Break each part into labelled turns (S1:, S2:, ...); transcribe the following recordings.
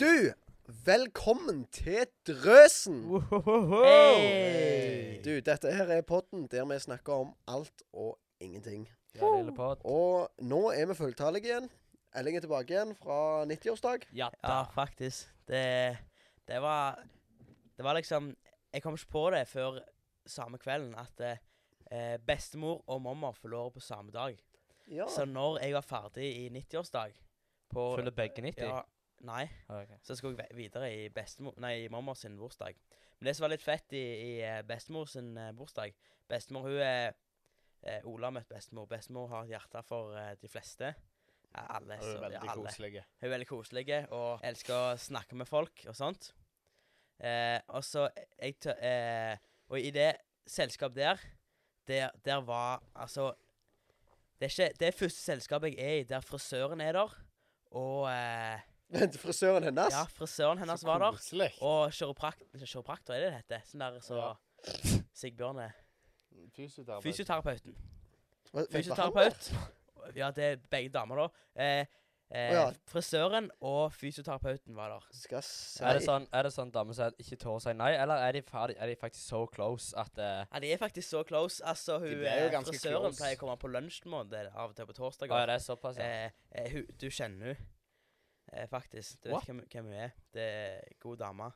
S1: Du, velkommen til Drøsen!
S2: Hey.
S1: Du, dette her er podden der vi snakker om alt og ingenting.
S2: Ja, lille pott.
S1: Og nå er vi fulltallige igjen. Elling er tilbake igjen fra 90-årsdag.
S2: Ja
S3: Ja,
S2: da.
S3: faktisk. Det, det var Det var liksom Jeg kom ikke på det før samme kvelden at eh, bestemor og mamma fyller år på samme dag.
S1: Ja.
S3: Så når jeg var ferdig i 90-årsdag på
S2: Fyller begge 90?
S3: Ja, nei.
S2: Ah, ok.
S3: Så skulle jeg ve- videre i, bestemor, nei, i mamma sin bursdag. Men det som var litt fett i, i eh, bestemor sin eh, bursdag Bestemor hun er eh, Ola har møtt bestemor. Bestemor har et hjerte for eh, de fleste. Ja,
S4: Det
S3: alle.
S4: er
S3: så-
S4: veldig
S3: ja, alle.
S4: koselige.
S3: Hun er veldig koselig og elsker å snakke med folk og sånt. Eh, og så jeg tø eh, Og i det selskapet der, der, der var Altså det er, ikke, det er første selskapet jeg er i der frisøren er der. Og eh,
S1: Vent, frisøren hennes?
S3: ja, frisøren hennes var der.
S4: Koselig.
S3: Og kiropraktor, kiropraktor er det det heter? Sånn der så
S4: Ja.
S3: Sigbjørn er.
S4: Fysioterapeut.
S3: Fysioterapeuten.
S1: Hva- fikk behandlet?
S3: Fysioterapeut. Ja, det er begge damer, da. Eh, eh,
S1: Å ja.
S3: Frisøren og fysioterapeuten var der.
S1: Skal si
S2: Er det sånn, er det sånn damer som ikke tør å si nei, eller er de, ferdig, er de faktisk så close at eh,
S3: Ja, de er faktisk så close. Altså, hun,
S4: ble jo
S3: eh,
S4: ganske
S3: frisøren
S4: close.
S3: pleier å komme på lunsjmåned eh, av og til på
S2: Å ja,
S3: torsdager.
S2: det altså. er såpass, ja.
S3: eh, eh, hun, du kjenner hun, eh, faktisk. Du
S2: What?
S3: vet hvem, hvem hun er. Det er en god dame.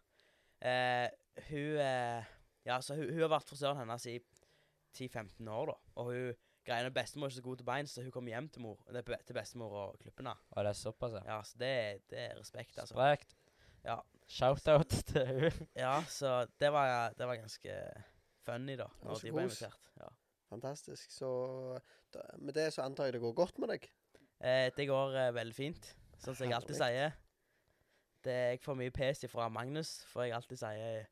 S3: Eh, hun, eh, ja, så hun, hun har vært frisøren hennes i 10-15 år, da. Og hun greiene bestemor er ikke så god til bein, så hun kommer hjem til, mor, nei, be- til bestemor og klippene.
S2: Å, det er såpass, ja.
S3: Ja, så det, det er respekt, altså.
S2: Sprekt.
S3: Ja.
S2: Shoutout til hun.
S3: Ja, så det var, det var ganske funny, da.
S1: var
S3: Når
S1: så
S3: de ble
S1: kos.
S3: invitert. Ja.
S1: Fantastisk. Så da, med det så antar jeg det går godt med deg.
S3: Eh, det går eh, veldig fint, sånn som jeg alltid sier. Det, jeg får mye pes fra Magnus, for jeg alltid sier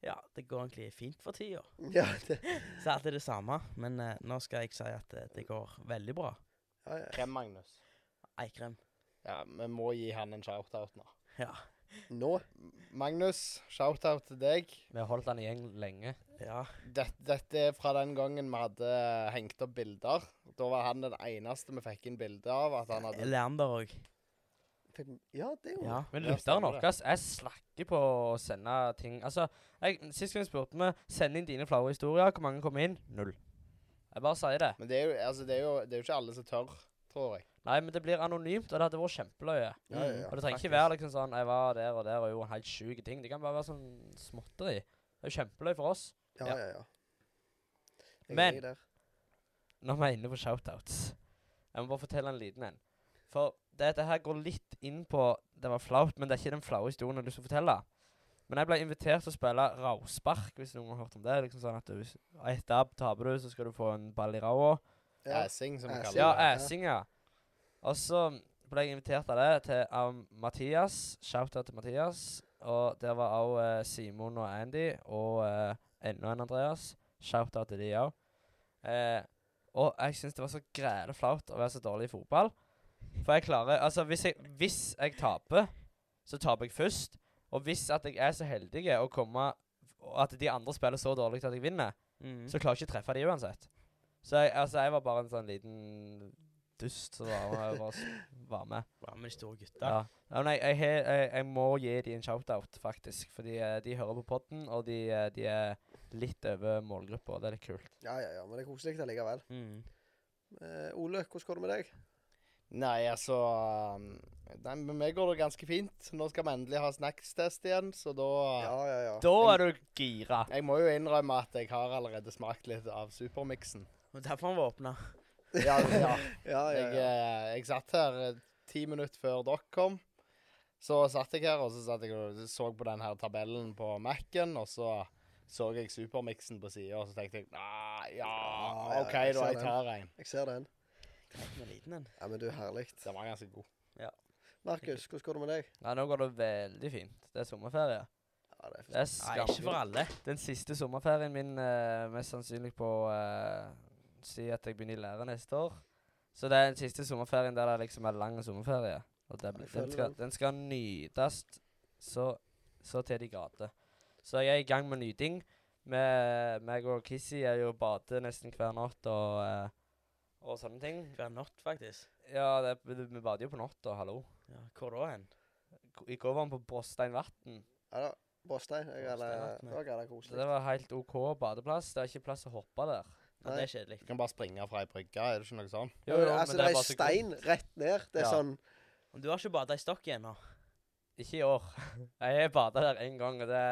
S3: ja, det går egentlig fint for tida.
S1: Ja, det,
S3: Så er alltid det samme, men eh, nå skal jeg si at eh, det går veldig bra.
S1: ja, ja.
S4: Hvem, Magnus?
S3: Eikrem.
S4: Ja, vi må gi han en shoutout nå.
S3: Ja.
S1: Nå
S4: Magnus, shoutout til deg.
S2: Vi har holdt han i gjeng lenge.
S3: ja.
S4: Dette, dette er fra den gangen vi hadde hengt opp bilder. Da var han den eneste vi fikk inn bilde av. at han hadde...
S3: Leander òg.
S1: fikk- Ja, det er jo
S3: Ja.
S2: Men
S4: Ja,
S2: lytteren
S4: stemmer
S2: vår,
S4: det.
S2: ass, jeg slakker på å sende ting. Altså, jeg, sist gang spurte vi, send inn dine flaue historier. Hvor mange kom inn? Null. Jeg bare sier det.
S4: Men det er, jo, altså, det, er jo, det er jo ikke alle som tør, tror jeg.
S2: Nei, men det blir anonymt, og det hadde vært kjempeløye.
S1: Ja, ja, ja.
S2: Og det trenger ikke være liksom sånn Jeg var der og der og gjorde en helt sjuk ting. Det kan bare være sånn småtteri. Det er jo kjempeløy for oss
S1: Ja,
S3: Ja.
S1: ja, ja. Jeg er
S2: Men-
S1: enig der.
S2: når vi er inne på shoutouts. Jeg må bare fortelle en liten en. For dette her går litt inn på Det var flaut, men det er ikke den flaue historien jeg har lyst til å fortelle. Men jeg ble invitert til å spille ravspark, hvis noen har hørt om det. Liksom sånn at du, hvis- Et dab taper du, så skal du få en ball i ræva.
S1: Ja.
S4: Æsing, som vi
S1: Æsing.
S4: kaller
S2: Ja,
S4: det.
S2: æsing, ja. Og så ble jeg invitert av det til av Mathias. Shout-out til Mathias. Og der var òg Simon og Andy og eh, enda en Andreas. Shout-out til de òg. Eh, og jeg syns det var så græle flaut å være så dårlig i fotball. For jeg klarer Altså, hvis jeg, hvis jeg taper, så taper jeg først. Og hvis at jeg er så heldig å komme og At de andre spiller så dårlig at jeg vinner,
S3: Mm.
S2: så klarer jeg ikke å treffe de uansett. Så jeg, altså, jeg var bare en sånn liten dust som var, var- var, var med.
S3: Bra med de store gutta.
S2: Ja. Ja, men jeg, jeg, he- jeg, jeg må gi de en shout-out, faktisk. Fordi eh, de hører på podden, og de, eh, de er litt over målgruppa. og Det er litt kult.
S1: Ja, ja, ja, men det er koselig allikevel.
S3: Mm.
S1: Eh, Ole, hvordan går det med deg?
S4: Nei, altså Nei, men meg går det ganske fint. Nå skal vi endelig ha snackstest igjen, så da
S1: Ja, ja, ja.
S2: Da er du gira.
S4: Jeg må jo innrømme at jeg har allerede smakt litt av supermiksen.
S3: Og derfor han var åpna.
S4: Ja, ja.
S1: ja, ja,
S4: Jeg,
S1: ja.
S4: eh, jeg satt her eh, ti minutter før dere kom. Så satt jeg her og så satt jeg og så på den her tabellen på Mac-en, og så så jeg supermiksen på sida, og så tenkte jeg nei, Ah, ja,
S1: Ja, ja,
S4: OK,
S1: jeg
S4: da,
S1: ser
S4: jeg tar en.
S1: Jeg ser den.
S3: Han er liten, den.
S1: Ja, men du, herlig.
S4: Den var ganske god.
S1: Markus, hvordan går det med deg?
S2: Nei, nå går det veldig fint. Det er sommerferie.
S1: Ja, det er
S2: Det er
S3: Nei, ikke for
S2: skamfint.
S3: alle.
S2: Den siste sommerferien min eh, mest sannsynlig på eh, Si at jeg begynner i lære neste år. Så det er den siste sommerferien der det liksom er lang sommerferie. Og det blir,
S1: Jeg
S2: den,
S1: føler
S2: skal,
S1: den.
S2: den skal nytes så, så til de grader. Så jeg er i gang med nyting. Med meg og Kissy er jo bade nesten hver natt og, eh, og sånne ting.
S3: Hver natt, faktisk.
S2: Ja, det, vi bader jo på natta, hallo.
S3: Ja, hvor da hen?
S2: i coveren på Bråstein Vatn.
S1: Ja da. Bråstein. Jeg hadde,
S3: Bråstein,
S1: det var gæla
S2: Så det
S1: koselig.
S2: var helt OK badeplass. Det er ikke plass å hoppe der.
S3: Ja, det er kjedelig.
S4: Du kan bare springe fra ei brygge, er det ikke noe sånn?
S1: Jo, jo, altså, det er
S2: bare så kult.
S1: stein rett ned. Det er
S2: Ja.
S1: sånn
S3: Men Du har ikke bada i stokk ennå.
S2: Ikke i år. Jeg har bada der én gang, og det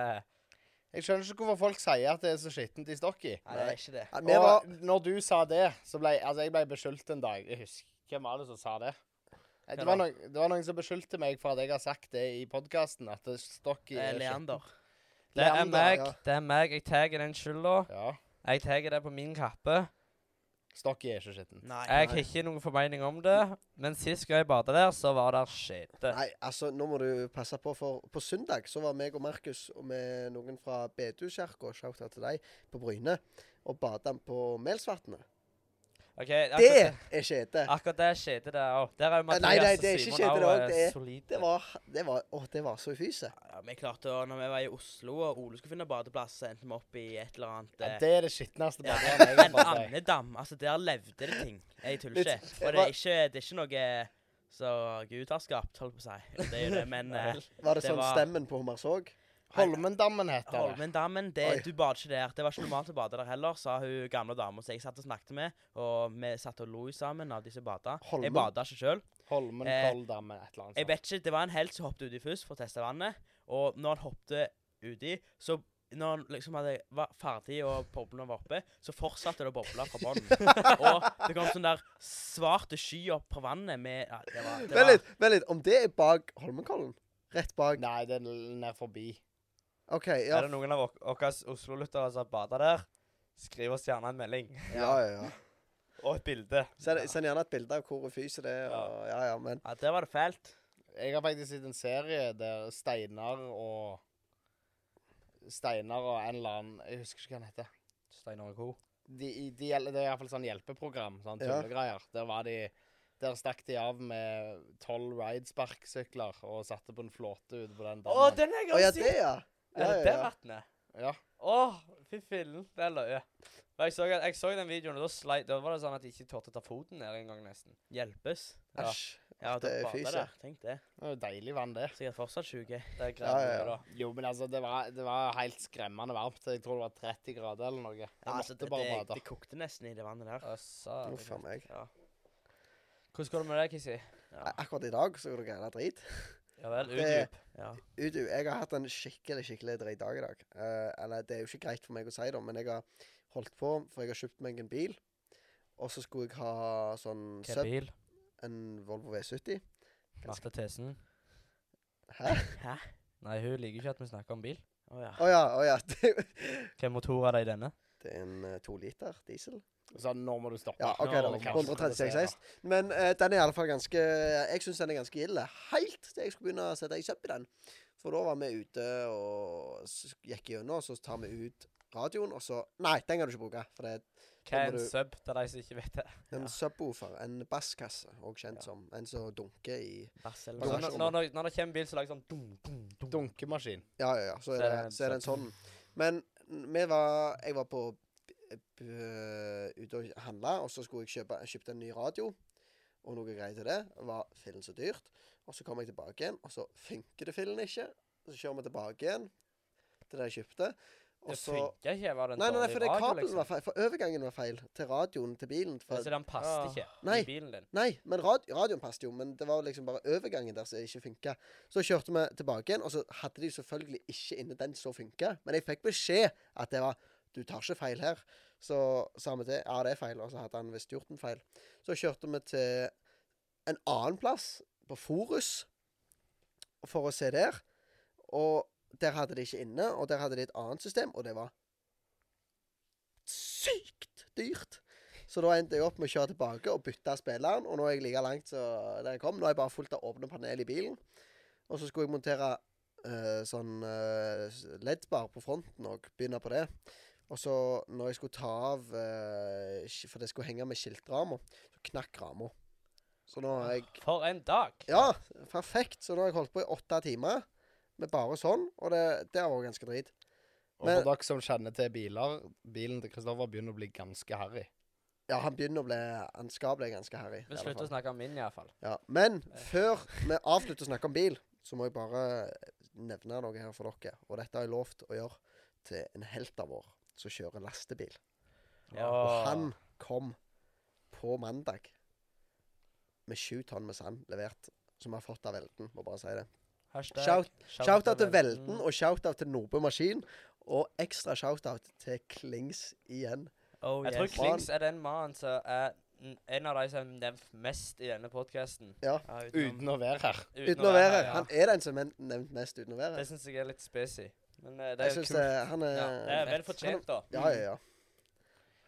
S4: Jeg skjønner ikke hvorfor folk sier at det er så skittent i Stokki.
S3: Nei, det er ikke det.
S1: ja, Vi var
S4: Og når du sa det, så ble altså jeg ble beskyldt en dag. Jeg husker hvem var det som sa det. Eh, Det
S3: Hvem
S4: var,
S3: da?
S4: noen, det var noen som beskyldte meg for at jeg har sagt det i podkasten. At det Stokki
S3: Eh,
S4: er
S3: Leander.
S4: skittent.
S2: Det er
S4: Leander,
S2: meg.
S1: ja.
S2: Det er meg. Jeg tar den skylda.
S4: Ja.
S2: Jeg tar det på min kappe.
S4: Stokki er ikke skitten.
S3: Nei.
S2: Jeg har ikke noen formening om det, men sist gang jeg bada der, så var det skjete.
S1: Nei, altså, nå må du passe på, for på søndag så var meg og Markus og med noen fra Bedehuskirka, shout out til deg, på Bryne, og bada på Melsvatnet.
S2: Ok,
S1: Det
S2: akkurat
S1: er skjete.
S2: Akkurat det skjedde der òg. Der er jo
S1: Nei,
S2: Mathias
S1: nei, det er
S2: og
S1: ikke
S2: Simon
S1: skjede det
S2: også,
S1: også,
S2: eh,
S1: det er-
S2: solide.
S1: Det var, det var, åh, det var så i fyset.
S3: Ja, vi klarte å, når vi var i Oslo og Ole skulle finne badeplass, så endte vi opp i et eller annet
S4: Ja,
S3: eh,
S4: det er det skitneste
S3: Ja,
S4: badet jeg har
S3: En
S4: vært i.
S3: andedam. Altså, der levde det ting. Jeg tuller
S1: Litt-
S3: ikke. Og det er ikke, det er ikke noe som Gud har skapt, holdt på å si. Det er jo det, men eh,
S1: Var det,
S3: Det
S1: sånn
S3: var-
S1: stemmen på Hummersåk?
S4: Holmendammen heter det.
S3: Holmendammen,
S1: Oi.
S3: det, du bader ikke der. Det var ikke normalt å bade der heller, sa hun gamle dama som jeg satt og snakket med. Og vi satt og lo sammen av de som bada.
S1: Holmen?
S3: Jeg bada ikke sjøl. Eh,
S4: Holmenkolldammen, et eller annet.
S3: Jeg vet ikke, Det var en helt som hoppet uti først for å teste vannet. Og når han hoppet uti, så når han liksom hadde, var ferdig og boblene var oppe, så fortsatte det å boble fra bånn. og det kom sånn der svarte sky opp fra vannet med ja, det var, det
S1: Vent
S3: var,
S1: litt, vent litt. Om det er bak Holmenkollen? Rett bak?
S4: Nei, det er l- ned forbi.
S1: OK, ja.
S2: Er det noen av ok- våre Oslo-lyttere som har bada der, skriv oss gjerne en melding
S1: Ja, ja, ja.
S2: og et bilde.
S1: Send, send gjerne et bilde av hvor i fyset det er. Og, ja, ja, men
S3: ja, der var det fælt.
S4: Jeg har faktisk sett en serie der Steinar og Steinar og en eller annen Jeg husker ikke hva han heter.
S2: Steinar Co.
S4: de, de, hjel- det er iallfall sånn hjelpeprogram, sånn
S1: Ja.
S4: tullegreier. Der var de Der stakk de av med tolv ridesparksykler og satte på en flåte ute på den
S2: Å,
S4: dammen.
S2: den har
S1: Å ja,
S2: jeg
S1: det,
S2: sett!
S1: ja.
S2: Er
S1: Ja,
S2: det det
S1: ja, ja.
S2: vannet?
S4: Ja.
S2: Å, fy fillen. Det er løye. Og Jeg så, jeg så den videoen, og da, sleit, da var det sånn at jeg ikke turte å ta foten ned engang, nesten.
S3: Hjelpes.
S2: Ja.
S1: Æsj.
S3: Ja,
S1: Det er
S3: det
S1: fyse.
S3: bada der. Tenk det.
S4: Det var jo deilig vann, det.
S3: Sikkert fortsatt sjuke.
S2: Det er greit,
S1: Ja, ja, ja.
S2: da.
S4: Jo, men altså, det var, det var helt skremmende varmt. Jeg tror det var 30 grader eller noe. Jeg
S3: Ja, altså,
S4: måtte
S3: det,
S4: bare
S3: det,
S4: bade.
S3: det kokte nesten i det vannet der.
S2: Å, satan.
S1: Uff a meg.
S3: Ja.
S2: Hvordan går det med deg, Kissy?
S3: Ja.
S1: Akkurat i dag så går det gæla drit.
S2: Ja vel,
S1: Det-
S2: utdyp.
S3: ja.
S1: Udu, jeg har hatt en skikkelig skikkelig drit dag i dag. Eh, eller det er jo ikke greit for meg å si det, men jeg har holdt på, for jeg har kjøpt meg en bil. Og så skulle jeg ha sånn
S2: Hvilken
S1: sub,
S2: bil?
S1: en Volvo V70.
S2: Marte Tesen?
S1: Hæ?
S2: Nei, hun liker ikke at vi snakker om bil.
S3: Å ja.
S1: Å ja, å ja. Det,
S2: Hvilken motor er det i denne?
S1: det er en eh, to liter diesel.
S4: Så nå må du stoppe.
S1: Ja, OK,
S4: Nå
S1: da.
S4: må du kanskje
S1: 136
S4: produsere.
S1: hest. Men eh, den er i alle fall ganske Jeg syns den er ganske ille. Helt til jeg skulle begynne å sette i sub i den. For da var vi ute og s- gikk gjennom, og så tar vi ut radioen, og så Nei, den kan du ikke bruke. For det er
S2: Hva er
S1: må
S2: en
S1: du-
S2: sub til de som ikke vet det?
S1: En
S3: Ja.
S1: subwoofer, en basskasse, også kjent
S3: Ja.
S1: som. En som dunker i
S3: Barcelona.
S2: Altså,
S1: Bagasje-
S2: når, når, når- når det kommer bil, så lager det sånn dum, dum, dum.
S4: Dunkemaskin.
S1: Ja, ja, ja. Så er, det, så er det en sånn. Men vi var Jeg var på b- b- ute og handla, og så skulle jeg kjøpe kjøpte en ny radio. Og noe greier til det. Det var fillen så dyrt. Og så kom jeg tilbake igjen, og så funker det fillen ikke. Så kjører vi tilbake igjen til det jeg kjøpte. Og
S2: Det
S1: så
S2: funker ikke. Var det en
S1: Nei, nei, nei,
S2: dårlig
S1: for det
S2: radio,
S1: kabelen
S2: liksom?
S1: var feil. For overgangen var feil til radioen til bilen. For
S2: Altså, den passet
S3: Ah.
S2: ikke
S1: Nei.
S2: i bilen din.
S1: Nei, men rad radioen passet jo, men det var liksom bare overgangen der som ikke funka. Så kjørte vi tilbake igjen, og så hadde de jo selvfølgelig ikke inne den som funka. Men jeg fikk beskjed at det var Du tar ikke feil her. Så sa vi til Ja, det er feil, og så hadde han visst gjort en feil. Så kjørte vi til en annen plass, på Forus, for å se der. Og der hadde de ikke inne, og der hadde de et annet system, og det var sykt dyrt. Så da endte jeg opp med å kjøre tilbake og bytte spilleren. Og nå er jeg like langt som der jeg kom. Nå er jeg bare fullt av åpne panel i bilen. Og så skulle jeg montere eh, sånn uh, LED-bar på fronten og begynne på det. Og så, når jeg skulle ta av eh, sk- For det skulle henge med skiltrama, så knakk rama. Så nå har jeg
S2: For en dag!
S1: ja, perfekt. Så nå har jeg holdt på i åtte timer med bare sånn, og det, det har vært ganske drit.
S4: Og
S1: Men-
S4: for dere som kjenner til biler, bilen til Kristoffer begynner å bli ganske harry.
S1: Ja, han begynner å bli Han skal bli ganske harry. i
S2: Vi
S1: alle
S2: slutter
S1: fall.
S2: å snakke om min, iallfall.
S1: Ja. Men før vi avslutter å snakke om bil, så må jeg bare nevne noe her for dere. Og dette har jeg lovt å gjøre til en helt av vår som kjører lastebil. Og
S3: Åh.
S1: han kom på mandag med sju tonn med sand levert, som vi har fått av Velden. Må bare si det.
S2: Hashtag
S1: Shout- Shout-out til
S2: Velten.
S1: Velden, og shout-out til Nordbø Maskin. Og ekstra shout-out til Klings igjen.
S3: Oh,
S2: Jeg tror
S3: yes.
S1: Faen.
S2: Klings er den mannen som er n- en av de som er nevnt mest i denne podkasten.
S3: Ja, utenom-
S4: Uten å være her.
S1: Uten å være
S2: her,
S1: her. Han er den som er nevnt mest uten å være
S2: Det
S1: her.
S2: syns jeg er litt spesy. Men eh, det
S1: Jeg
S2: er jo
S1: syns
S2: kult.
S1: eh, han er
S2: Ja, det er vel
S3: fett.
S2: fortjent, da.
S1: Ja, ja, ja.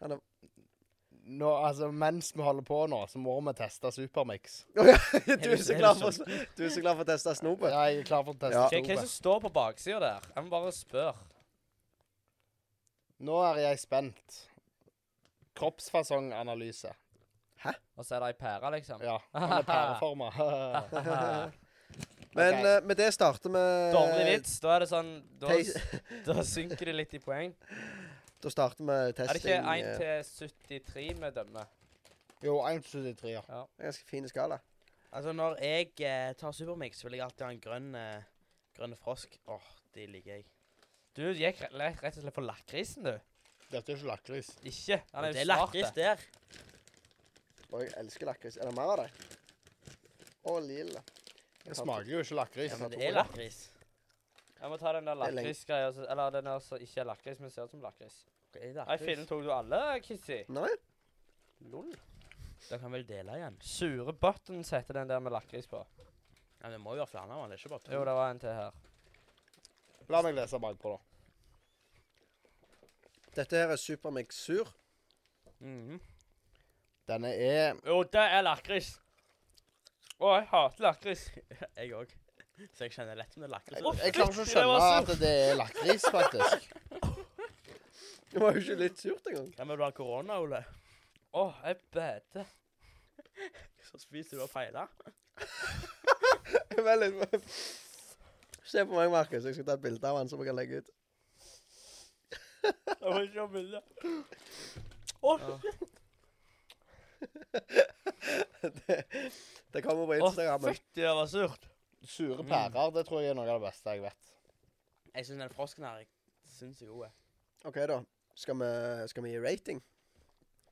S4: Nå, altså, mens vi holder på nå, så må vi teste Supermix.
S1: Du er så glad for, du er så glad for å teste snopet.
S4: Ja, jeg er klar for å teste
S1: Ja.
S2: Hva hva er det
S4: Tobe.
S2: som står på baksida der? Jeg må bare spørre.
S4: Nå er jeg spent. Kroppsfasonganalyse.
S2: Og så er det ei pære, liksom.
S4: Ja, han er pæreforma.
S1: Men
S4: Ok.
S1: eh, med det starter vi
S2: Dårlig vits. Da er det sånn Da,
S1: Eh, Teis-
S2: da synker det litt i poeng.
S1: Da starter vi testing.
S2: Er det ikke
S1: eh,
S2: 1 til 73 vi dømmer?
S4: jo, 1,73. Ja.
S1: en ganske fin skala.
S3: Altså, når jeg eh, tar Supermix, så vil jeg alltid ha en grønn, eh, grønn frosk. Åh, de liker jeg.
S2: Du gikk re- rett og slett for lakkrisen, du.
S4: Dette er ikke lakris.
S2: Ikke. Han
S3: Og
S2: er
S3: det
S2: jo
S3: er
S2: smart.
S3: lakris
S2: det.
S3: der.
S1: Og jeg elsker lakris. Er det mer av det? Å, lilla.
S4: Det smaker jo ikke lakris.
S3: Ja, men det
S1: tror
S3: er
S1: jeg.
S3: lakris.
S2: Jeg må ta den der
S1: Det er lenge.
S2: lakrisgreia. så- Eller den der som ikke er lakris, men ser ut som lakris.
S3: Det er
S2: Nei, fillen
S3: lakris.
S2: tok du alle, Kissy?
S1: Nei,
S2: Lol.
S3: Da kan vel dele igjen.
S2: Sure buttons heter den der med lakris på.
S3: Ja, men det må jo være flere av dem. Det er ikke bare to.
S2: Jo, det var en til her.
S4: La meg lese bakpå, da.
S1: dette her er Supermix sur.
S3: Mhm.
S4: Denne er
S2: Jo, det er lakris. Å, jeg hater lakris.
S3: Jeg òg. Så jeg kjenner lett om det er lakris.
S4: Jeg,
S3: eller-
S4: jeg klarer ikke å
S2: fytti, det
S4: skjønne
S2: var
S4: at det er lakris, faktisk.
S1: Det var jo ikke litt surt engang.
S3: Ja, men du har korona, Ole.
S2: Å, jeg beder.
S3: Så spiser du og feiler.
S1: Vel, jeg- Se på meg, Markus. Jeg skal ta et bilde av han som jeg kan legge ut.
S2: Jeg må ikke ha bilde.
S1: Det kommer på
S2: Å,
S1: Instagram. men-
S2: fytti, det var surt.
S4: Sure pærer, det tror jeg er noe av det beste jeg vet.
S3: Jeg syns den frosken her syns jeg er god. jeg.
S1: OK, da. Skal vi, skal vi gi rating?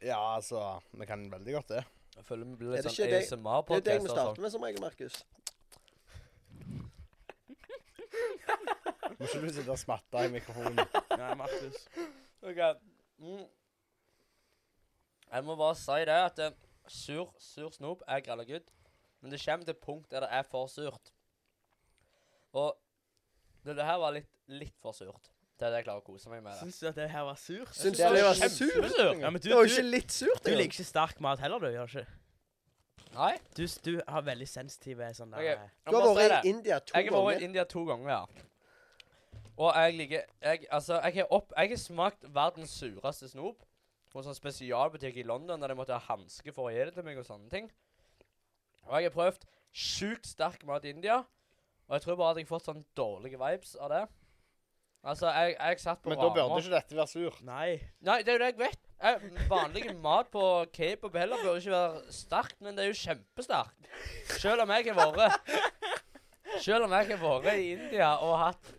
S4: Ja, altså Vi kan veldig godt det.
S2: Jeg føler vi blir
S1: litt
S2: litt
S1: sånn
S2: sånn
S1: Det er jo det vi
S2: ASMR-podkast.
S1: starter med som regel, Markus.
S4: Må ikke du sitte og smatte i mikrofonen.
S3: Nei, Markus.
S2: Ok. Mm. Jeg må bare si det at eh, sur, sur snop er gralla good, men det kommer til et punkt der det er for surt. Og det, det her var litt, litt for surt til at jeg klarer å kose meg med det.
S3: Syns du at det her var surt?
S1: Syns
S4: det
S1: du det
S4: er
S1: var
S2: kjempesurt.
S1: surt?
S3: Ja, men du,
S1: Det var jo
S3: du,
S1: ikke litt surt
S3: du liker
S1: engang.
S3: ikke sterk mat heller, du. gjør du ikke?
S2: Nei?
S3: Du, du har veldig sensitive sånne der,
S2: Ok. Jeg
S1: Du
S2: må
S1: har
S2: bare si
S1: vært i
S2: det.
S1: India to
S2: Jeg har vært i
S1: ganger.
S2: India to ganger, ja. Og jeg liker jeg, Altså, jeg har, opp, jeg har smakt verdens sureste snop på en sånn spesialbutikk i London der de måtte ha hanske for å gi det til meg og sånne ting. Og jeg har prøvd sjukt sterk mat i India, og jeg tror bare at jeg har fått sånn dårlige vibes av det. Altså, jeg, jeg satt på
S4: Men da burde
S2: Rama-
S4: ikke dette være sur.
S3: Nei.
S2: Nei, det er jo det jeg vet. Jeg, vanlig mat på kebab heller bør ikke være sterkt, men det er jo kjempesterkt. Selv om jeg har vært Selv om jeg har vært i India og hatt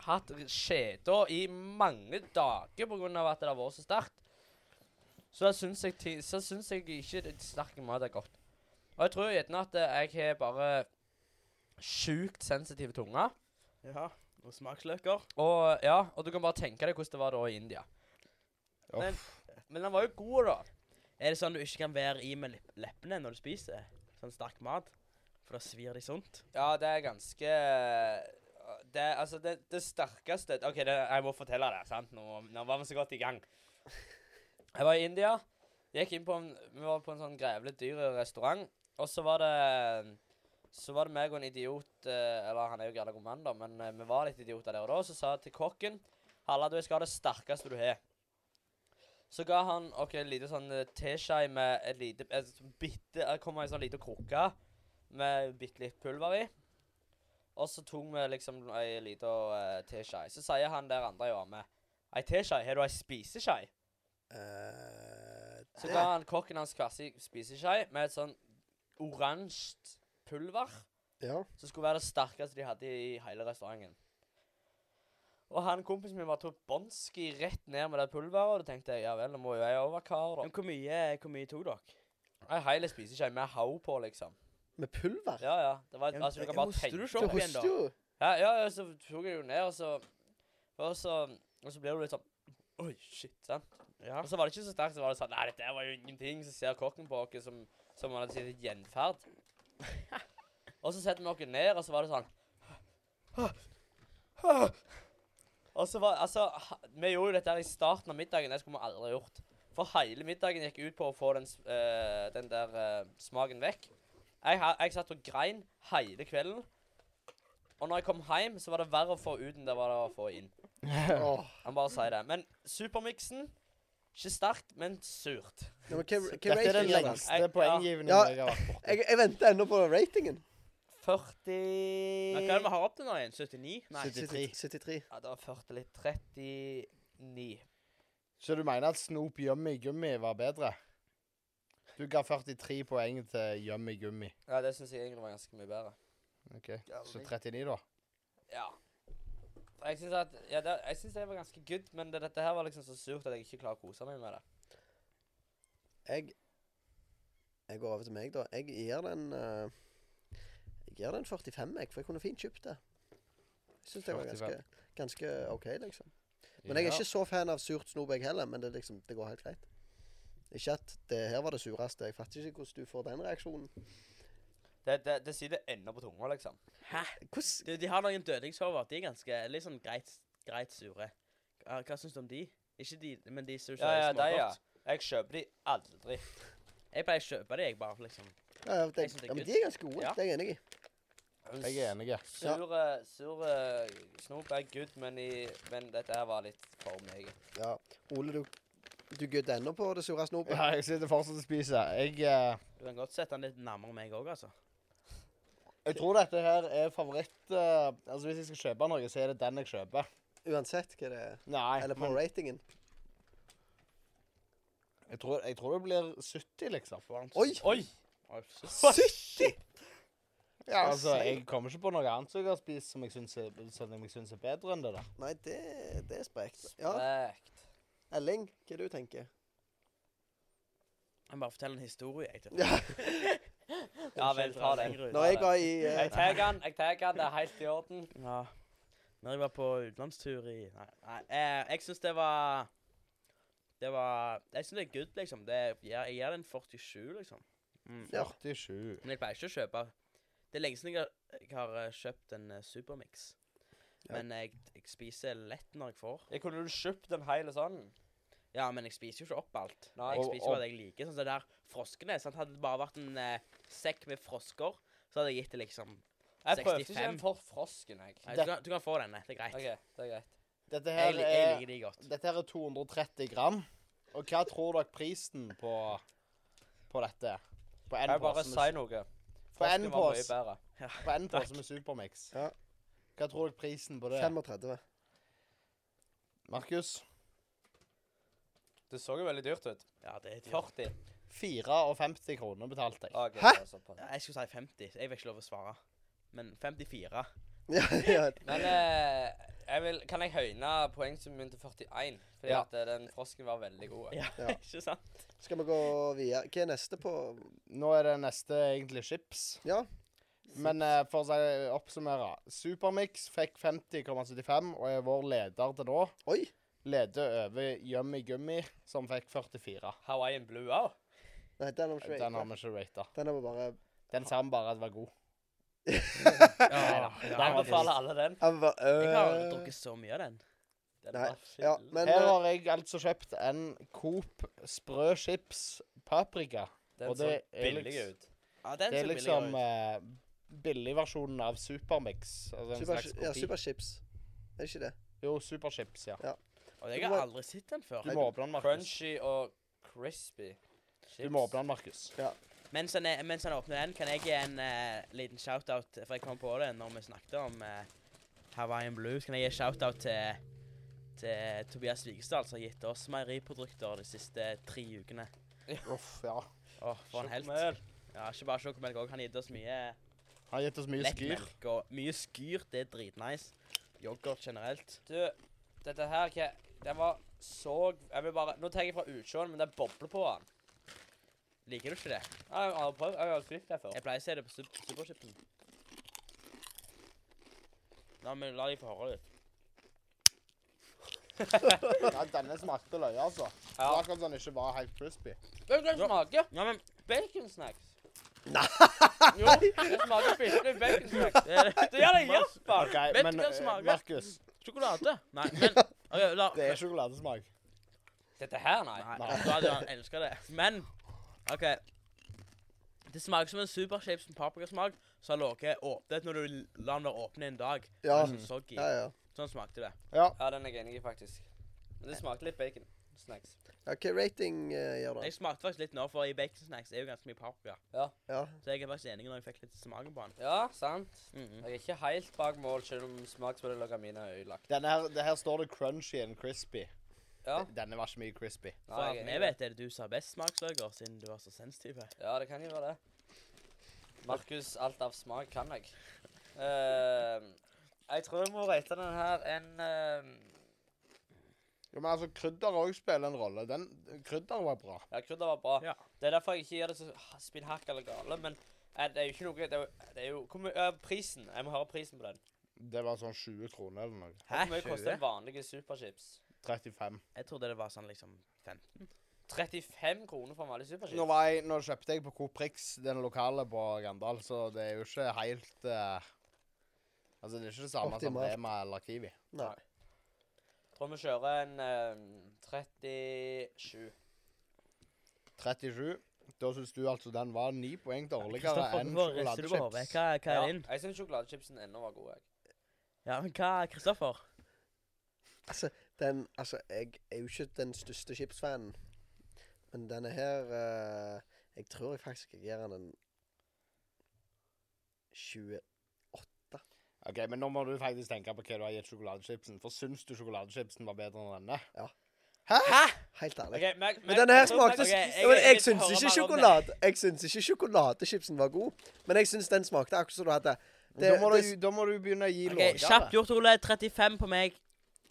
S2: hatt skjeda i mange dager pga. at det har vært så sterkt, så syns jeg, ti- så syns jeg ikke det sterk mat er godt. Og jeg tror gjerne at eh, jeg har bare sjukt sensitive tunger.
S3: Ja. Og smaksløker.
S2: Og ja, og du kan bare tenke deg hvordan det var da i India.
S4: Uff.
S2: Men, men den var jo god, da.
S3: Er det sånn du ikke kan være i med lepp- leppene når du spiser sånn sterk mat? For da svir de sunt.
S2: Ja, det er ganske eh, Det er altså det, det sterkeste OK, det, jeg må fortelle det. sant? Nå, nå var vi så godt i gang. Jeg var i India. Gikk inn på en, vi var på en sånn grevlet dyr restaurant. Og så var det Så var det meg og en idiot eh, Eller han er jo galla god mann, da, men eh, vi var litt idioter der og da. Så sa jeg til kokken Halla, du, jeg skal ha det sterkeste du har. Så ga han oss en liten sånn eh, teskje med et lite et sånn bitte, Det kom ei sånn lita krukke med bitte litt pulver i. Og så tok vi liksom ei lita eh, teskje. Så sier han der andre jeg var med, ei teskje, har du ei spiseskje?
S1: Eh,
S2: Så ga han kokken hans hver sin spiseskje med et sånn oransje pulver
S1: Ja.
S2: som skulle være det sterkeste de hadde i hele restauranten. Og han kompisen min bare tok Bonski rett ned med det pulveret, og da tenkte jeg ja vel, nå må jo jeg overkare,
S3: Men
S2: da.
S3: hvor mye, hvor mye tok dere?
S2: En hel spiseskje med haug på, liksom.
S1: Med pulver?
S2: Ja, ja. Det var,
S3: Ja,
S2: altså, du kan
S3: ja,
S2: bare
S3: hoster du
S2: tenke
S3: så
S1: Du
S3: opp igjen, da?
S1: hoster jo.
S2: Ja, ja, ja, så tok jeg jo ned, og så Og så, og så blir du litt sånn Oi, shit, sant?
S3: Ja.
S2: Og så var det ikke så sterkt, så var det sånn Nei, dette var jo ingenting. Så ser kokken på oss som, som han hadde sitt gjenferd. og så setter vi oss ned, og så var det sånn Og så var Altså, ha- vi gjorde jo dette her i starten av middagen. Det skulle vi aldri gjort. For hele middagen gikk ut på å få den, s- eh, den der eh, smaken vekk. Jeg, ha- jeg satt og grein hele kvelden. Og når jeg kom hjem, så var det verre å få ut enn det var å få inn.
S1: Åh.
S2: Han bare sier det. Men supermiksen Ikke sterkt, men surt.
S1: Ja, men hva, hva
S4: Dette er den
S1: rating gir den?
S4: lengste
S2: Jeg- ja.
S4: poenggivningen
S1: Ja.
S4: jeg har vært borti.
S1: Jeg, jeg venter ennå på ratingen.
S2: 40
S3: Men hva er det vi har opp til nå igjen? 79? Nei.
S4: 73.
S1: 73.
S2: Ja, det var 40 litt. 39.
S4: Så du mener at Snoop Yummy Gummi var bedre? Du ga 43 poeng til Yummy Gummi.
S2: Ja, det syns jeg egentlig var ganske mye bedre.
S4: Ok, Så 39, da.
S2: Ja. For Jeg syns at Ja, det, jeg synes det var ganske good, men det, dette her var liksom så surt at jeg ikke klarer å kose meg med det.
S1: Jeg Jeg går over til meg, da. Jeg gir den eh, Jeg gir den 45, jeg, for jeg kunne fint kjøpt det. Jeg syns det var ganske, ganske OK, liksom. Men jeg er ikke så fan av surt snop, jeg heller. Men det, er liksom, det går helt greit. Ikke at det her var det sureste. Jeg fatter ikke hvordan du får den reaksjonen.
S2: Det, det, det sitter ennå på tunga, liksom.
S1: Hvordan
S3: Du, de har noen dødningshover. De er ganske litt sånn greit, greit sure. Hva, hva syns du om de? Ikke de, men de som
S2: Ja, ja,
S3: smaker
S2: de, ja.
S3: godt.
S2: Jeg kjøper de aldri.
S3: Jeg pleier å kjøpe det, jeg bare. liksom.
S1: ja, ja, det,
S3: Jeg synes det er
S1: ja, men
S3: good.
S1: De er ganske gode.
S3: Ja.
S1: Det er jeg enig i.
S4: Jeg er enig.
S2: Sur, sur eh, snop er good, men, i, men dette her var litt for meget.
S1: Ja. Ole, du, du gudder ennå på det sure snopet.
S4: Ja, jeg sitter fortsatt og spiser. Jeg, eh,
S3: Du kan godt sette den litt nærmere meg òg, altså.
S4: jeg tror dette her er favoritt... eh, altså, hvis jeg skal kjøpe noe, så er det den jeg kjøper.
S1: Uansett hva det er.
S4: Nei,
S1: Eller på
S4: men
S1: ratingen.
S4: jeg tror, jeg tror det blir 70, liksom.
S1: Oi!
S2: Oi!
S3: Oi, shit.
S1: 70!
S4: Ja, altså, jeg kommer ikke på noe annet som jeg har spist som jeg syns er, som jeg synes er bedre enn det der.
S1: Nei, det, det er sprekt. Ja.
S2: Sprekt.
S1: Elling, hva du tenker
S3: Jeg må bare fortelle en historie. jeg til.
S1: Ja.
S2: Ja vel, ta den.
S3: Lenger ut.
S1: Når jeg var i eh,
S2: Jeg tar den, jeg tar den, det er helt i orden.
S3: Ja. Når jeg var på utenlandstur i Nei, nei eh, jeg syns det var Det var Jeg syns det er good, liksom. Det, jeg, jeg gir den 47, liksom. Mm.
S1: Ja.
S4: 47.
S3: Men jeg pleier ikke å kjøpe Det er lenge siden jeg har, jeg har eh, kjøpt en eh, Supermix.
S1: Ja.
S3: Men jeg, jeg spiser lett når jeg får.
S2: Jeg kunne du kjøpt den hele sånn?
S3: Ja, men jeg spiser jo ikke opp alt.
S2: Nei.
S3: jeg
S4: Og-
S3: spiser jo
S4: og-
S3: hva jeg liker. Sånn som det der froskene. Sant? Hadde det bare vært en eh, sekk med frosker, så hadde jeg gitt det liksom
S2: Jeg prøvde ikke
S3: 65.
S2: den for frosken, jeg.
S3: Nei, du, kan, du kan få denne. Det er greit.
S2: OK, det er greit.
S4: Dette
S3: Jeg,
S4: her
S3: li- jeg
S4: er,
S3: liker de godt.
S4: dette her er 230 gram. Og hva tror dere prisen på, på dette er? På en
S2: Kan jeg bare
S4: pose med
S2: si noe?
S4: På en
S2: Frosken var mye
S4: pose.
S2: bedre.
S4: På en
S3: Takk.
S4: pose med Supermix.
S1: Ja.
S4: Hva tror dere prisen på det er?
S1: 35.
S4: Markus?
S2: Det så jo veldig dyrt ut.
S3: Ja, det er dyrt.
S2: 40.
S4: 54 kroner betalte jeg.
S2: Ok,
S1: Hæ?
S2: det altså er såpass.
S3: Ja, Jeg skulle si 50. Jeg fikk ikke lov å svare. Men 54.
S1: Ja, ja.
S2: Men eh, jeg vil, kan jeg høyne poengsummen min til 41? Fordi
S4: Ja.
S2: at eh, den frosken var veldig god.
S3: Ja,
S1: Ja.
S3: ikke sant?
S1: Skal vi gå videre? Hva er neste på
S4: Nå er det neste egentlig chips.
S1: Ja.
S4: Men eh, for å si, oppsummere. Supermix fikk 50,75 og er vår leder til nå.
S1: Oi!
S4: Leder over Yummy Gummy, som fikk 44.
S2: Hawaiian blue òg.
S1: Nei, den har vi ikke
S4: Den har
S1: ratet.
S4: vi ikke rata.
S1: Den har vi bare
S4: Den sa vi bare at var god.
S3: Ja,
S4: Ja,
S3: ja.
S4: den var
S2: Anbefaler alle den.
S1: Jeg har bare,
S3: Jeg har
S1: øh,
S3: drukket så mye av den.
S2: den
S1: Nei,
S2: var
S1: Ja,
S2: skikkelig-
S1: men
S4: Her
S1: eh,
S4: har jeg altså kjøpt en Coop sprø chips paprika.
S2: Den
S4: og
S2: så
S4: det er
S2: billig
S4: liks-
S2: ut.
S3: Ja, den
S4: Det er
S3: så
S4: liksom
S3: billig ut.
S4: eh, billigversjonen av Supermix. Altså en
S1: super,
S4: slags
S1: ja,
S4: kopi.
S1: Superchips. Er det ikke det?
S4: jo, Superchips, ja.
S3: Og jeg har aldri sett den før.
S4: Du må åpne den, Markus.
S2: Crunchy og crispy.
S4: Du må åpne den, Markus.
S3: Mens han, er, mens han åpner den, kan jeg gi en eh, liten shout-out, for jeg kom på det når vi snakket om eh, Hawaiian Blues. Kan jeg gi en shout-out til, til Tobias Vigestad, som har gitt oss meieriprodukter de siste tre ukene.
S4: Uff, ja.
S3: Åh, for en helt.
S2: Sjokomel.
S3: Ja, ikke bare sjokomelk òg. Han har gitt oss mye
S4: Han har gitt oss mye skyr.
S3: Lettmelk og mye skyr. Det er dritnice. Yoghurt generelt.
S2: Du, dette her hva Den var så Jeg vil bare Nå tenker jeg fra utsjåen, men det bobler på den.
S3: Liker du ikke det?
S2: Jeg har aldri prøvd Jeg har aldri spist det før.
S3: Jeg pleier å se det på sup Superchipsen. La meg la deg få høre litt.
S4: Ja, denne smakte løye, altså. Det
S2: Ja.
S4: var akkurat som den ikke var helt crispy.
S2: Vet du hva det
S3: Ja.
S2: smaker?
S3: Ja, men
S2: Baconsnacks. Nei! Jo, det smaker bitte litt baconsnacks.
S3: det er
S2: Det gjør det i Japan.
S4: Ok,
S2: Vet
S4: men
S2: du hva det
S4: eh,
S2: smaker?
S4: Markus,
S3: sjokolade. Nei, men ok, la,
S4: det er sjokoladesmak.
S2: Dette her, nei.
S3: Nei,
S4: Nei.
S3: da hadde han elsket det. Men OK. Det smaker som en superchips med paprikasmak som har ligget åpnet når du l- lar den være åpen i en dag.
S1: Ja.
S3: Den er
S4: Mm.
S3: så soggy.
S1: Ja, ja.
S3: Sånn smakte det.
S4: Ja.
S2: Ja, den er jeg enig i, faktisk. Men det smakte litt bacon. Snacks.
S1: ja hva rating eh, gjør det?
S3: Jeg smakte faktisk litt nå, for i bacon snacks er jo ganske mye paprika.
S1: Ja.
S3: Så jeg er faktisk enig når jeg fikk litt smaken på den.
S2: Ja, sant.
S3: Mhm.
S2: Jeg er ikke helt bak mål, selv om smaksmodellene mine er ødelagt.
S4: Denne her, det her står det crunchy and crispy.
S2: Ja.
S4: Denne var ikke mye crispy.
S3: For
S2: Nei,
S3: at
S2: jeg er
S3: vi
S2: enig.
S3: vet, er det du som har best smaksløker, siden du var så sensitiv.
S2: Ja, det kan jo være det. Markus, alt av smak kan jeg. Eh, jeg tror jeg må rate den her en eh,
S4: Jo, men altså, krydder òg spiller en rolle. Den, krydder var bra.
S2: Ja, krydder var bra.
S3: Ja.
S2: Det er derfor jeg ikke gir det så ha- spinnhakk eller gale, men eh, det er jo ikke noe Det er jo, det er jo hvor mye- eh, Prisen. Jeg må høre prisen på den.
S4: Det var sånn 20 kroner eller noe.
S2: Hvor mye
S3: 20?
S2: koster en vanlig superchips?
S4: 35.
S3: Jeg trodde det var sånn liksom 15.
S2: 35 kroner for en vanlig
S4: Nå,
S2: superchips?
S4: var jeg, nå kjøpte jeg på Coprix, den lokale på Gandal, så det er jo ikke helt eh, Altså, det er ikke det samme
S1: Optimalt.
S4: som Rema eller Kiwi.
S1: Nei.
S2: Tror vi kjører en eh, 37.
S4: 37. Da syns du altså den var ni poeng dårligere
S3: Kristoffer,
S4: enn
S3: hvorfor rister du på hodet?
S4: sjokoladechips.
S3: Hva, hva er
S2: Ja,
S3: din?
S2: jeg syns sjokoladechipsen ennå var god. jeg.
S3: Ja, men hva, Kristoffer?
S1: Altså, den Altså, jeg er jo ikke den største chipsfanen, men denne her eh, Jeg tror jeg faktisk jeg gir den en 20
S4: Ok, Men nå må du faktisk tenke på hva du har gitt sjokoladechipsen. For syns du sjokoladechipsen var bedre enn denne?
S1: Helt ærlig.
S2: Ok,
S1: Men
S2: Mac- Mac-
S1: denne her
S2: tror
S1: smakte s-
S2: Mac- Ok,
S1: Jo, men Jeg
S2: vil
S1: syns ikke
S2: høre mer om den.
S1: sjokolade Jeg syns ikke sjokoladechipsen var god, men jeg syns den smakte akkurat som du hadde.
S4: da,
S1: Det-
S4: må
S1: det
S4: du,
S1: s-
S4: da må du begynne å gi
S3: Ok,
S4: lavere.
S3: Kjapt gjort, Ole. 35 på meg.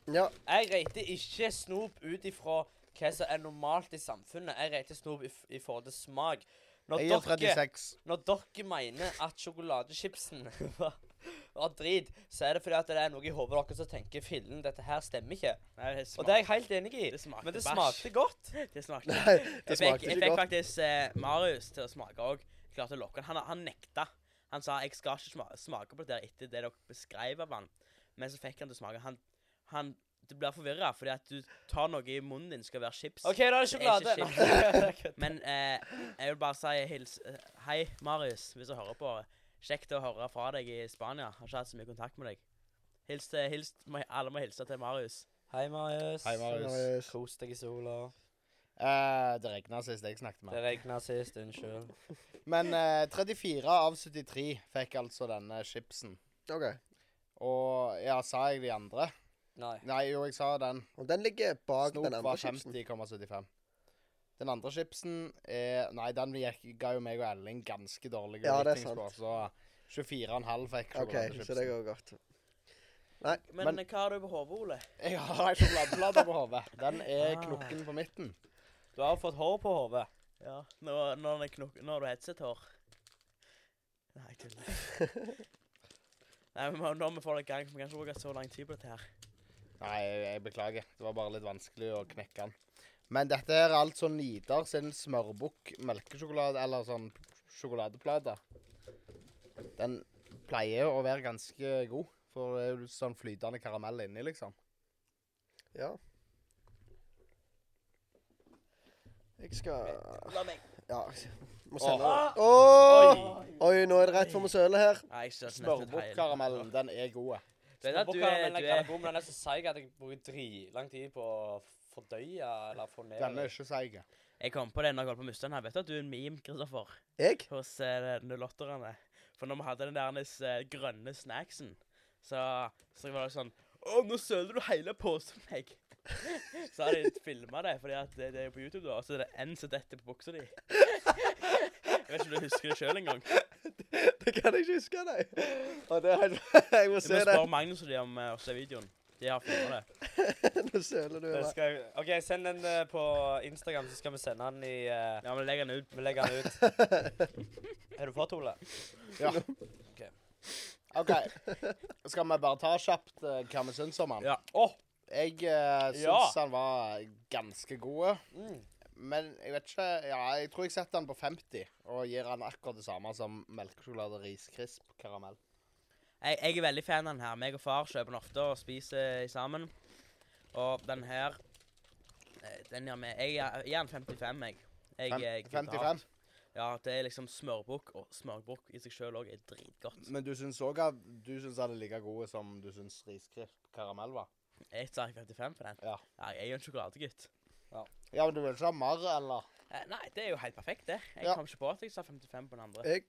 S1: Ja,
S2: Jeg rater ikke snop ut ifra hva som er normalt i samfunnet. Jeg rater snop i, f- i forhold til smak. Når
S4: Jeg gir
S2: dere,
S4: 36.
S2: når dere mener at sjokoladechipsen var, var drit, så er det fordi at det er noe i hodet deres som tenker fillen, dette her stemmer ikke.
S3: Nei, det
S2: Og det er jeg helt enig i.
S3: Det smakte
S2: Men det
S3: bæsj.
S2: smakte godt.
S3: Det smakte
S1: nei, det
S3: Jeg fikk,
S1: smakte
S3: jeg
S1: ikke
S3: fikk
S1: godt.
S3: faktisk eh, Marius til å smake òg. Klarte å lokke han. Han, han nekta. Han sa jeg skal ikke sma- smake på det der etter det dere beskrev av han. Men så fikk han til å smake. Han, han Du blir forvirra fordi at du tar noe i munnen din skal være chips.
S2: OK, da er det
S3: Det er ikke
S2: sjokolade. Kødd.
S3: Men eh, jeg vil bare si hils eh, Hei, Marius, hvis du hører på. Kjekt å høre fra deg i Spania. Har ikke hatt så mye kontakt med deg. Hils til, hils, må, alle må hilse til Marius.
S2: Hei, Marius.
S4: Hei, Marius.
S1: Marius.
S2: Kos deg i sola.
S4: Eh, det regna sist jeg snakket med
S2: Det
S4: han.
S2: regna sist. Unnskyld.
S4: Men eh, 34 av 73 fikk altså denne chipsen.
S1: OK.
S4: Og ja, sa jeg de andre?
S2: Nei.
S4: Nei, jo, jeg sa den.
S1: Og den ligger bak
S4: Snop
S1: den andre
S4: var
S1: chipsen.
S4: 50,75. Den andre chipsen er Nei, den gikk, ga jo meg og Elling ganske dårlige
S1: Ja, det er
S4: ratings på, så 24,5 fikk
S1: OK, så det
S4: sjokoladechipsen.
S1: går godt.
S3: Men,
S4: Men-
S3: hva har du på hodet, Ole?
S4: Jeg har ei sjokoladeplate på hodet. Den er
S3: Ah.
S4: klokken på midten.
S2: Du har fått hår på hodet.
S3: Ja, når, når, det knok- når du har headset-hår. Nei, jeg tuller. Nei, men må- når vi får det i gang, for vi kan ikke bruke så lang tid på dette her.
S4: Nei, jeg, jeg beklager. Det var bare litt vanskelig å knekke den. Men dette her er altså Nidar sin smørbukk melkesjokolade, eller sånn sjokoladeplate. Den pleier å være ganske god, for det er jo sånn flytende karamell inni, liksom.
S1: Ja. Jeg skal
S3: La meg.
S1: Ja. Må sende
S4: Åh.
S1: Å! Oi, nå er det rett for vi søler her.
S3: Nei, jeg støtter nesten et heil.
S4: Smørbukkkaramellen, den er god.
S3: Du vet at du er,
S2: Småbokkaramellen
S3: du er
S2: kan jeg bo, men den er så seig at jeg bruker dritlang tid på å fordøye eller få ned.
S4: Den er ikke seig.
S3: Jeg kom på det når jeg holdt på å miste den her. Vet du at du er en meme, Kristoffer,
S1: Jeg?
S3: hos eh, nulotterne? For når vi hadde den der eh, grønne snacksen, så, så var det sånn Å, nå søler du hele posen meg. så har de filma det, fordi at det, det er jo på YouTube, da. Og så er det en som detter på buksa di. Jeg vet ikke om du husker det sjøl engang.
S1: det kan jeg ikke huske, nei. Og det er helt Jeg må
S3: Du må
S1: se det.
S3: spørre Magnus og de om eh, å se videoen. De har filma det.
S1: Nå søler du.
S2: Det
S1: Emma.
S2: skal jeg, OK, send den eh, på Instagram, så skal vi sende den i eh,
S3: Ja, men legg den ut.
S2: Vi legger den ut. Er du for, Ole?
S4: Ja.
S2: Ok.
S4: OK. Skal vi bare ta kjapt eh, hva vi syns om han?
S3: Ja.
S2: Åh!
S4: Jeg uh, syns
S2: Ja.
S4: han var ganske god.
S2: Mm.
S4: Men jeg vet ikke Ja, jeg tror jeg setter han på 50 og gir han akkurat det samme som melkesjokolade, ris, krisp, karamell.
S3: Jeg, jeg er veldig fan av den her. Meg og far kjøper den ofte og spiser eh, sammen. Og den her eh, Den gjør meg Jeg er- jeg er en 55, jeg. jeg, eh,
S4: Fem-
S3: jeg
S4: 55.
S3: Ja, det er liksom smørbukk, og smørbukk i seg sjøl òg er dritgodt.
S4: Men du syns òg at du syns han er like god som du syns ris, krisp, karamell var?
S3: Jeg tar 55 for den.
S4: Ja.
S3: Ja, jeg er jo en sjokoladegutt.
S4: Ja, men du vil ikke ha mer, eller?
S3: Eh, Nei, det er jo helt perfekt, det. Jeg
S4: Ja.
S3: kom ikke på at jeg sa 55 på den andre.
S1: Jeg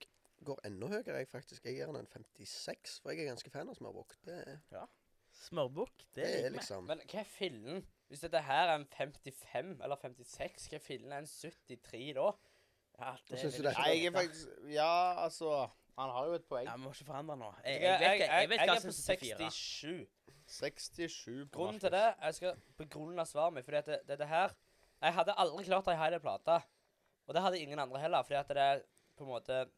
S1: går enda høyere, jeg faktisk. Jeg gir den en 56, for jeg er ganske fan av smørbukk. Det, er-
S3: Smørbukk, det,
S1: det er
S3: liker vi.
S1: liksom
S2: Men hva er fillen? Hvis dette her er en 55 eller 56, hva er fillen er en 73 da? Ja,
S1: Hva synes du
S2: vil
S1: det?
S4: Nei, jeg er faktisk Ja, altså Han har jo et poeng.
S3: Ja, Vi må ikke forandre nå. Jeg,
S2: Jeg, jeg,
S3: jeg, vet, jeg, jeg vet hva
S2: er
S3: som
S2: på
S3: er 64.
S2: 67.
S4: 67 på
S2: Grunnen
S4: Markus.
S2: til det Jeg skal begrunne svaret mitt, fordi at det- dette her Jeg hadde aldri klart ei Heidi-plate. Og det hadde ingen andre heller, fordi at det er på en måte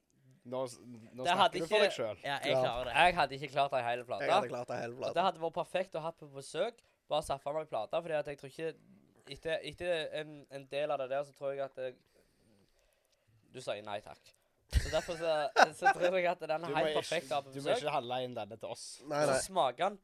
S4: Nå, s- nå
S2: Det hadde
S4: snakker du for
S2: ikke-
S4: deg sjøl.
S3: Ja, jeg
S1: Ja.
S3: klarer det.
S2: Jeg hadde ikke klart ei hel
S1: Jeg hadde
S2: plate.
S1: klart det hele
S2: Og det
S1: bladet.
S2: hadde vært perfekt å ha på besøk. Bare saffa meg plate, fordi at jeg tror ikke Etter, etter en, en del av det der, så tror jeg at jeg, Du sier nei takk. Så derfor så, så tror jeg at den
S4: Du,
S2: er
S4: må
S2: helt perfekt
S4: ikke-
S2: å ha på
S4: du må
S2: besøk.
S4: ikke handle inn denne til oss.
S1: Nei,
S2: så
S1: nei.
S2: smaker den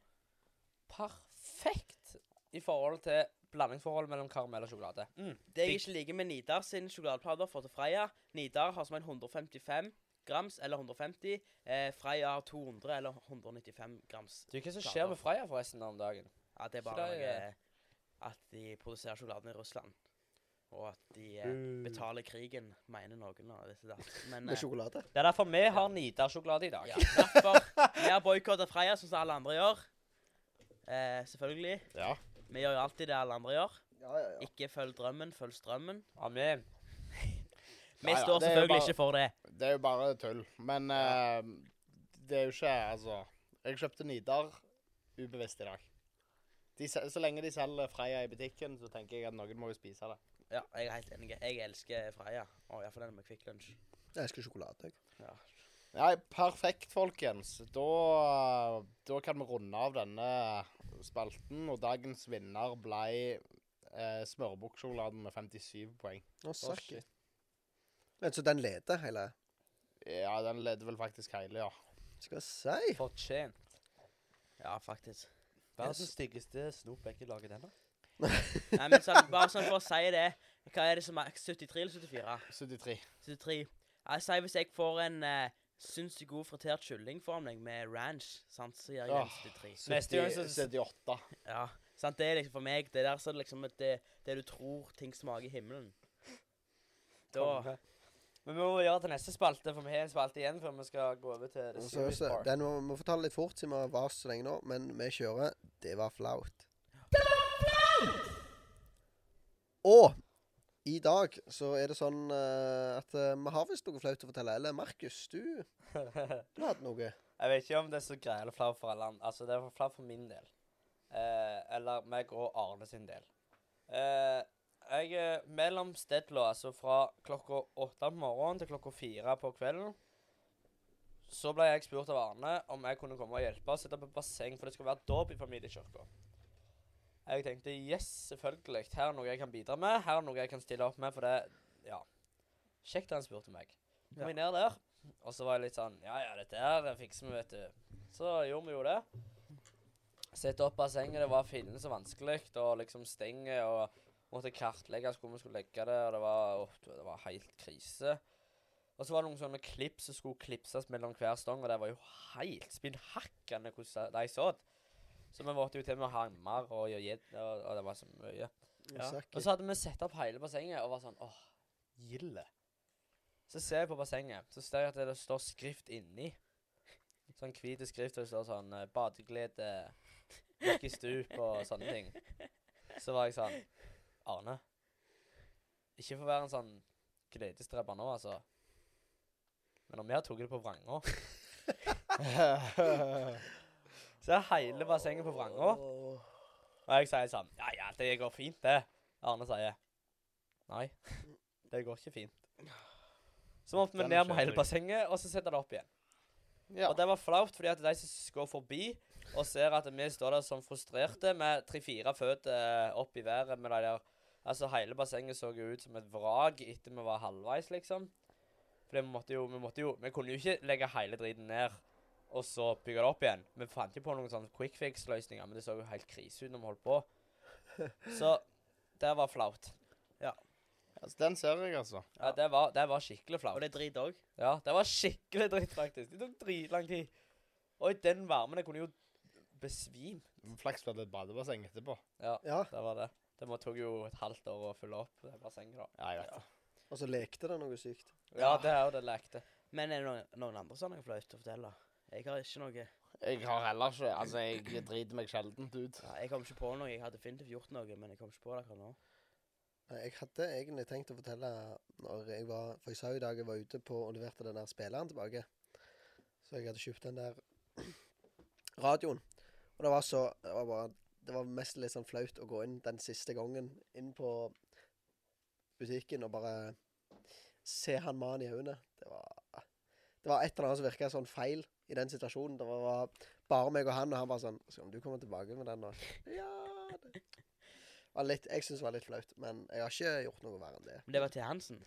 S2: perfekt i forhold til blandingsforholdet mellom karamell og sjokolade.
S3: Mm. Det jeg ikke liker med Nidar sin sjokoladeplater får til Freia Nidar har som en 155 grams eller 150. Eh, Freia har 200 eller 195 grams.
S2: Du, Hva som
S3: Klart
S2: skjer
S3: det.
S2: med Freia forresten nå om dagen?
S3: Ja, det er
S2: Så
S3: bare
S2: det
S3: noe eh,
S2: er-
S3: at de produserer sjokoladen i Russland. Og at de eh, betaler krigen, mener noen av disse der. Men
S1: Med
S3: eh,
S1: sjokolade.
S2: Det er derfor vi har Nidar-sjokolade i dag.
S3: ja, derfor Vi har boikotta Freia, sånn som alle andre gjør. Eh, selvfølgelig.
S4: Ja.
S3: Vi gjør jo alltid det alle andre gjør.
S1: Ja, ja, ja.
S3: Ikke følg drømmen, følg strømmen.
S2: Amen.
S3: Vi
S4: Ja, ja,
S3: står
S4: det er jo
S3: selvfølgelig
S4: bare-
S3: ikke for det.
S4: Det er jo bare tull. Men eh, det er jo ikke Altså. Jeg kjøpte Nidar ubevisst i dag. De, se- så lenge de selger Freia i butikken, så tenker jeg at noen må jo spise det.
S3: Ja, jeg er helt enig. Jeg elsker Freia. Og iallfall den med Kvikk Lunsj.
S1: Jeg elsker sjokolade. jeg.
S3: Ja.
S4: Nei, perfekt, folkens. Da, da kan vi runde av denne spalten. Og dagens vinner ble eh, smørbukksjokoladen med 57 poeng.
S1: Å, sakk.
S4: shit.
S1: Men så den leder hele
S4: Ja, den leder vel faktisk hele, ja.
S1: Skal jeg si
S2: Fortjent.
S3: ja, faktisk.
S1: Verdens
S2: styggeste snop jeg ikke lager den, da.
S3: Nei, men sånn, bare sånn for å si det. Hva er det som er 73 eller 74?
S4: 73.
S3: 73. Jeg sier hvis jeg får en uh, sinnssykt god fritert kylling for meg med ranch, sant, så gjør jeg
S4: Åh.
S3: en 73.
S2: Neste gang så-
S4: 78.
S3: Ja, sant, det er liksom for meg, det der så er det liksom at det, det du tror ting smaker i himmelen. Da,
S2: Men vi må gjøre til neste spalte, for vi har en spalte igjen før vi skal gå over til The
S1: så,
S2: Serious
S1: så,
S2: Part.
S1: Den må vi få ta litt fort, siden vi har vart så lenge nå. Men vi kjører 'Det var flaut'. Og i dag så er det sånn eh, at eh, vi har visst noe flaut å fortelle. Eller Markus, du, du hadde noe.
S2: Jeg vet ikke om det er så greit eller flaut for alle andre. Altså, det er flaut for min del. Eh, eller meg og Arne sin del. Eh, jeg er mellom Stedlo, altså fra klokka åtte om morgenen til klokka fire på kvelden. Så ble jeg spurt av Arne om jeg kunne komme og hjelpe og sette opp et basseng, for det skal være dåp i familiekirka. Jeg tenkte yes, selvfølgelig. Her er noe jeg kan bidra med. Her er noe jeg kan stille opp med, for det Ja. Kjekt han spurte meg. Kom jeg ned der, og så var jeg litt sånn Ja ja, dette her det fikser vi, vet du. Så gjorde vi jo det. Sette opp bassenget, det var fillen så vanskelig, og liksom stenget, og måtte kartlegge hvor vi skulle legge det, og det var, åh, det var helt krise. Og så var det noen sånne klipp som skulle klipses mellom hver stang, og det var jo helt spinnhakkende hvordan de så. Så vi måtte jo til med hammer og gjedd, og, og det var så mye.
S3: Ja.
S1: Sakk.
S2: Og så hadde vi sett opp hele bassenget og var sånn åh, gilde. Så ser jeg på bassenget, så ser jeg at det står skrift inni. Sånn hvit skrift, og det står sånn eh, 'badeglede', 'gikk i stup' og sånne ting. Så var jeg sånn Arne, ikke for å være en sånn gledesdreper nå, altså. Men om vi har tatt det på vranga Så er hele bassenget på vranga. Og jeg sier sånn Ja, ja, det går fint, det. Arne sier Nei, det går ikke fint. Så måtte vi
S4: Den
S2: ned med
S4: kjøper
S2: hele
S4: jeg.
S2: bassenget, og så setter det opp igjen.
S4: ja.
S2: Og det var flaut, fordi at de som går forbi og ser at vi står der som frustrerte med tre-fire føtter eh, opp i været med de der Altså, hele bassenget så jo ut som et vrak etter vi var halvveis, liksom. For vi måtte jo Vi måtte jo Vi kunne jo ikke legge hele driten ned og så bygge det opp igjen. Vi fant jo på noen sånne quick fix-løsninger, men det så jo helt krise ut når vi holdt på. Så det var flaut.
S4: Altså, den ser jeg, altså.
S2: Ja, det var, det var skikkelig
S3: Og
S2: flaut.
S3: det er drit òg.
S2: Ja, det var skikkelig dritt, faktisk. Det tok dritlang tid. Og i den varmen jeg kunne jo besvime.
S4: Flaks for at det er et badebasseng etterpå.
S2: Ja,
S1: Ja,
S2: det var det. Det må- tok jo et halvt år å fylle opp det bassenget, da.
S4: Ja, jeg vet det.
S1: og så lekte det noe sykt.
S2: Ja, det er jo det lekte.
S3: Men er det noen, noen andre som har noe flaut å fortelle? Jeg har ikke noe.
S4: Jeg har heller ikke Altså, jeg driter meg sjeldent ut.
S3: Nei, jeg kom ikke på noe. Jeg hadde definitivt gjort noe, men jeg kom ikke på det akkurat nå.
S1: Nei, Jeg hadde egentlig tenkt å fortelle når jeg var For jeg sa jo i dag jeg var ute på og leverte den der spilleren tilbake. Så jeg hadde kjøpt den der radioen. Og det var så Det var, bare, det var mest litt sånn flaut å gå inn den siste gangen inn på butikken og bare se han mannen i øynene. Det var Det var et eller annet som virka sånn feil i den situasjonen. Det var var bare meg og han, og han bare sånn Skal du komme tilbake med den nå? Ja det. Var litt, Jeg syns det var litt flaut, men jeg har ikke gjort noe verre enn det.
S3: Men det var til Hansen.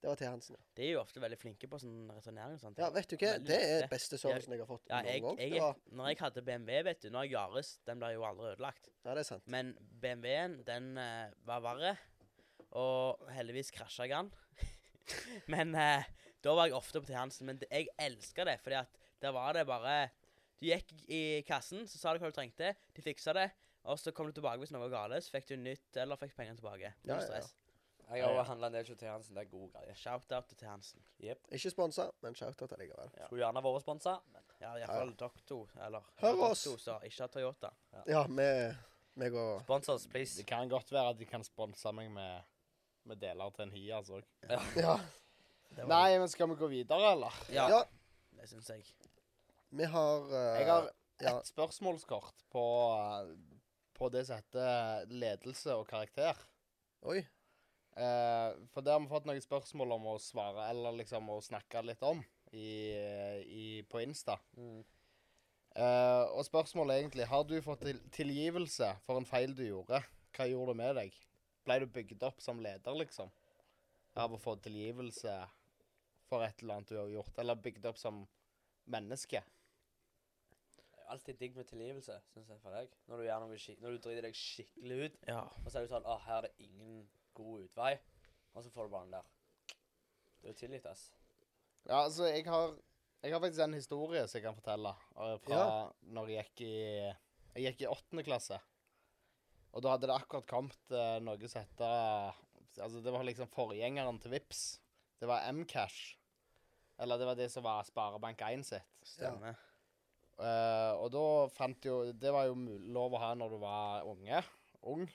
S1: Det var til Hansen, ja.
S3: De er jo ofte veldig flinke på sånn returnering og sånt.
S1: Ja, vet du hva?
S3: Veldig
S1: Det er
S3: lette.
S1: beste servicen jeg har fått
S3: Ja,
S1: noen
S3: jeg,
S1: gang.
S3: jeg,
S1: Det var,
S3: når jeg hadde BMW, vet du Nå har jeg Yaris, den ble jo aldri ødelagt.
S1: ja, det er sant.
S3: Men BMW-en, den eh, var verre. Og heldigvis krasja jeg den. men eh, da var jeg ofte på til Hansen. Men det, jeg elska det, fordi at der var det bare Du gikk i kassen, så sa du hva du trengte, de fiksa det. Og så kom du tilbake hvis noe var galt, så fikk du nytt eller fikk pengene tilbake.
S1: Ja,
S3: Null
S1: ja, ja.
S3: stress.
S2: Jeg har jo handla en del til Hansen. Det er god greie.
S3: Shout-out til Til Hansen.
S2: Yep.
S1: Ikke sponsa, men shout-out allikevel.
S3: Ja.
S2: Skulle gjerne vært sponsa.
S3: Ja, iallfall Dokto, eller
S1: Hør
S3: Dokto,
S1: oss.
S3: som ikke har Toyota.
S1: Ja, vi vi går
S2: Spons oss, please.
S4: Det kan godt være at de kan sponse meg med, med deler til en altså. Hias òg.
S1: Ja.
S3: Det var-
S4: Nei, men skal vi gå videre, eller?
S3: Ja,
S1: ja
S3: det syns jeg.
S1: vi har eh,
S4: Jeg har
S1: ja.
S4: ett spørsmålskort på, eh, på det som heter ledelse og karakter.
S1: Oi.
S4: Eh, for det har vi fått noen spørsmål om å svare eller liksom å snakke litt om i, i, på Insta.
S2: Mm.
S4: Eh, og spørsmålet er egentlig Har du fått til tilgivelse for en feil du gjorde? Hva gjorde det med deg? Ble du bygd opp som leder, liksom? Av å få tilgivelse for et eller annet du har gjort? Eller bygd opp som menneske?
S2: Det er jo alltid digg med tilgivelse, syns jeg, for deg. Når du gjør noe skik Når du driter deg skikkelig ut,
S3: Ja.
S2: og så er du sånn Å, her er det ingen god utvei. Og så får du bare den der. Du er tilgitt, ass.
S4: Ja, altså, jeg har, jeg har faktisk en historie som jeg kan fortelle. eh, Fra når jeg gikk i Jeg gikk i åttende klasse. Og da hadde det akkurat kommet eh, noe som heter Altså, det var liksom forgjengeren til Vips. Det var Mcash. Eller det var det som var Sparebank1 sitt.
S3: Stemmer.
S4: Eh, og da fant jo Det var jo mul lov å ha når du var unge. Ung.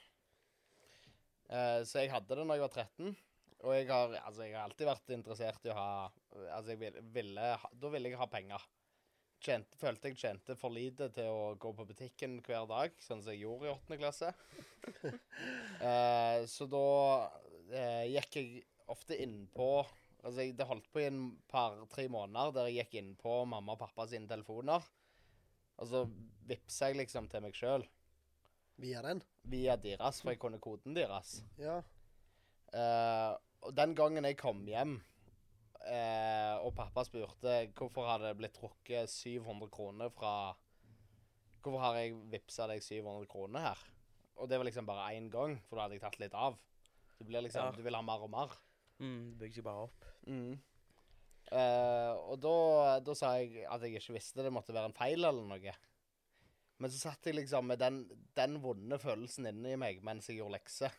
S4: Eh, så jeg hadde det når jeg var 13. Og jeg har, altså, jeg har alltid vært interessert i å ha Altså, jeg ville, ville ha, Da ville jeg ha penger. Tjente, følte jeg tjente for lite til å gå på butikken hver dag, sånn som jeg gjorde i åttende klasse. Eh, så da eh, gikk jeg ofte innpå Altså, jeg, det holdt på i en par-tre måneder der jeg gikk innpå mamma og pappa sine telefoner. Og så vippsa Altså, jeg liksom til meg sjøl
S1: Via den.
S4: via deres, for jeg kunne koden deres.
S1: Ja.
S4: Eh, og den gangen jeg kom hjem, eh, og pappa spurte hvorfor har det blitt trukket 700 kroner fra Hvorfor har jeg vippsa deg 700 kroner her? Og det var liksom bare én gang, for da hadde jeg tatt litt av. Du blir liksom,
S3: Ja.
S4: du vil ha mer og mer.
S3: Mm, det bygde seg bare opp.
S4: Eh, og da, da sa jeg at jeg ikke visste det måtte være en feil eller noe. Men så satt jeg liksom med den, den vonde følelsen inni meg mens jeg gjorde lekser.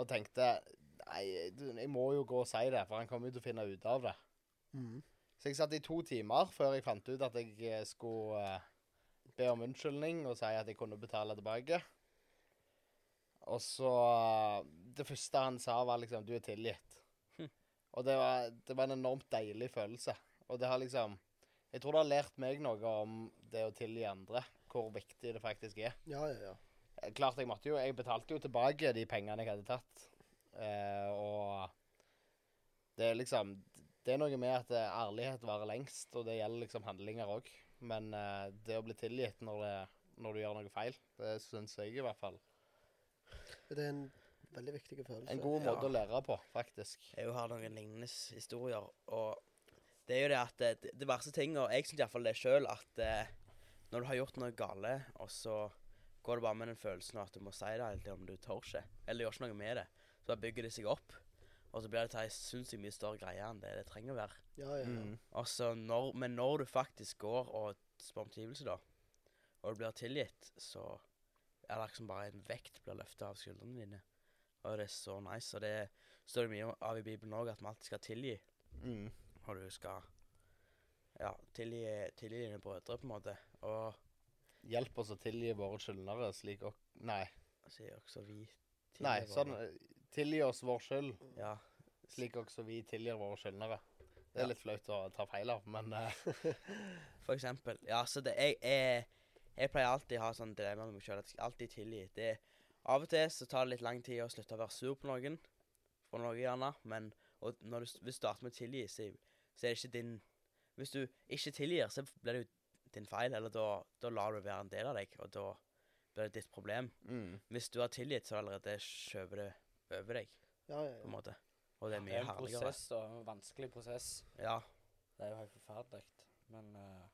S4: Og tenkte Nei, du, jeg må jo gå og si det, for han kommer jo til å finne ut av det.
S1: Mm.
S4: Så jeg satt i to timer før jeg fant ut at jeg eh, skulle eh, be om unnskyldning og si at jeg kunne betale tilbake. Og så eh, Det første han sa, var liksom 'Du er tilgitt'. Og det var, det var en enormt deilig følelse Og det har liksom Jeg tror det har lært meg noe om det å tilgi andre. Hvor viktig det faktisk er.
S1: Ja, ja, ja.
S4: Eh, Klart jeg måtte jo Jeg betalte jo tilbake de pengene jeg hadde tatt. Eh, og det er liksom Det er noe med at eh, ærlighet varer lengst, og det gjelder liksom handlinger òg. Men eh, det å bli tilgitt når, det, når du gjør noe feil, det syns jeg i hvert fall.
S1: Det er en veldig viktig følelse.
S4: En god
S3: Ja.
S4: måte å lære på, faktisk.
S3: Jeg har noen lignende s- historier, og det er jo det at eh, det, det verste tinga Jeg syns iallfall det sjøl, at eh, når du har gjort noe gale, og så går det bare med den følelsen av at du må si det, eller om du tør ikke, eller gjør ikke noe med det, så bare bygger det seg opp, og så blir det til ei sinnssykt mye større greie enn det det trenger å være.
S1: Ja, ja, ja.
S4: Mm.
S3: Og så når, men når du faktisk går og spør om tilgivelse, da, og du blir tilgitt, så er det liksom bare en vekt blir løfta av skuldrene dine. Og det er så nice. Og det står det mye av i Bibelen òg, at vi alltid skal tilgi.
S4: Mm.
S3: Og du skal ja, tilgi, tilgi dine brødre, på en måte. Og
S4: Hjelp oss å tilgi våre skyldnere slik og... Nei,
S3: sier også vi tilgir
S4: nei,
S3: våre.
S4: sånn eh, Tilgi oss vår skyld,
S3: Ja.
S4: slik også vi tilgir våre skyldnere. Det
S3: Ja.
S4: er litt flaut å ta feil av, men eh,
S3: For eksempel. Ja, så det, jeg, jeg, jeg pleier alltid å ha sånn dilemma med meg sjøl. At jeg skal alltid tilgi. Det, av og til så tar det litt lang tid å slutte å være sur på noen. For noe gjerne. Men og når du, s- hvis du starter med å tilgi, så, så er det ikke din Hvis du ikke tilgir, så blir det jo din feil. Eller da, da lar du være en del av deg, og da blir det ditt problem.
S4: mm.
S3: Hvis du har tilgitt, så allerede skjøver det over deg,
S1: ja, ja,
S3: på en
S1: ja.
S3: måte. Og det er
S2: Det
S3: mye
S2: er en
S3: herligere.
S2: prosess, da. En vanskelig prosess.
S3: Ja.
S2: Det er jo helt forferdelig. Men eh,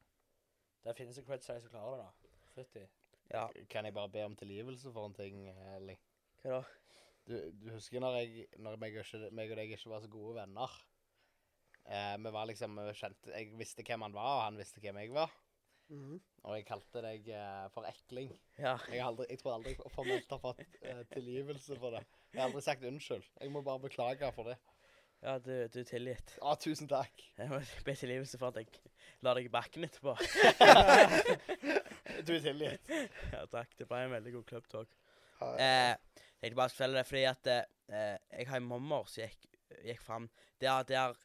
S2: det finnes jo creds de som klarer det, da. Fytti.
S3: ja.
S4: Kan jeg bare be om tilgivelse for en ting, Elling?
S3: Hva da?
S4: Du, du husker når, jeg, når meg, og ikke, meg og deg ikke var så gode venner? Eh, vi var liksom, vi kjente, Jeg visste hvem han var, og han visste hvem jeg var.
S1: Mhm.
S4: Og jeg kalte deg eh, for ekling.
S3: Ja.
S4: Jeg, har aldri, jeg tror aldri jeg formelt har fått eh, tilgivelse for det. Jeg har aldri sagt unnskyld. Jeg må bare beklage for det.
S3: ja, du, du er tilgitt.
S4: Ah, tusen takk.
S3: Jeg må be tilgivelse for at jeg la deg i bakken etterpå.
S4: Du er tilgitt.
S3: ja, takk. Det var en veldig god klubb talk.
S1: Ja, ja.
S3: Eh, jeg tenkte bare å fortelle det fordi at eh, jeg har en mormor som gikk, gikk fram. Det har, det har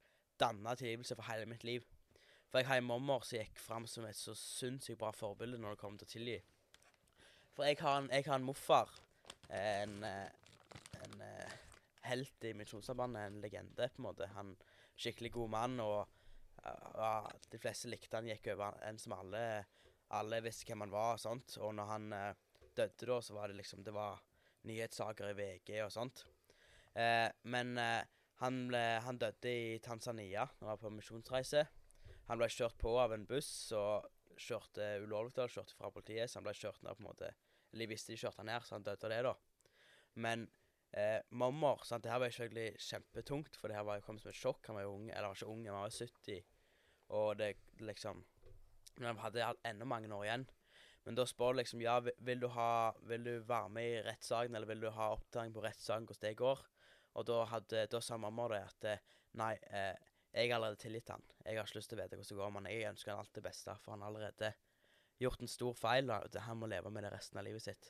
S3: danna tilgivelse for hele mitt liv. For jeg har en mormor som gikk fram som et så sinnssykt bra forbilde når det kommer til å tilgi. For jeg har en, jeg har en morfar. En, eh, en eh, helt i Misjonssambandet. En legende, på en måte. Han skikkelig god mann, og eh, ja, de fleste likte han gikk over han- en som alle Alle visste hvem han var, og sånt. Og når han eh, døde da, så var det liksom Det var nyhetssaker i VG og sånt. Eh, men eh, han, ble, han døde i Tanzania når han var på misjonsreise. Han ble kjørt på av en buss og kjørte ulovlig, da, kjørte fra politiet, så han ble kjørt ned på en måte. Eller de visste de kjørte han ned, så han døde av det, da. Men eh, mormor sant, Det her var jo selvfølgelig kjempetungt, for det her var jo kommet som et sjokk. Han var jo ung, eller han var ikke ung, han var jo 70. Og det liksom Men han hadde enda mange år igjen. Men da spør du liksom ja, vi- vil du, ha, vil du være med i rettssaken, eller vil du ha oppdatering på rettssaken hvordan det går? Og da, hadde, da sa mamma det at eh, nei, eh, jeg har allerede tilgitt han. Jeg har ikke lyst til å vite hvordan det går, men jeg ønsker han alt det beste, for han har allerede gjort en stor feil. da, og Han må leve med det resten av livet sitt.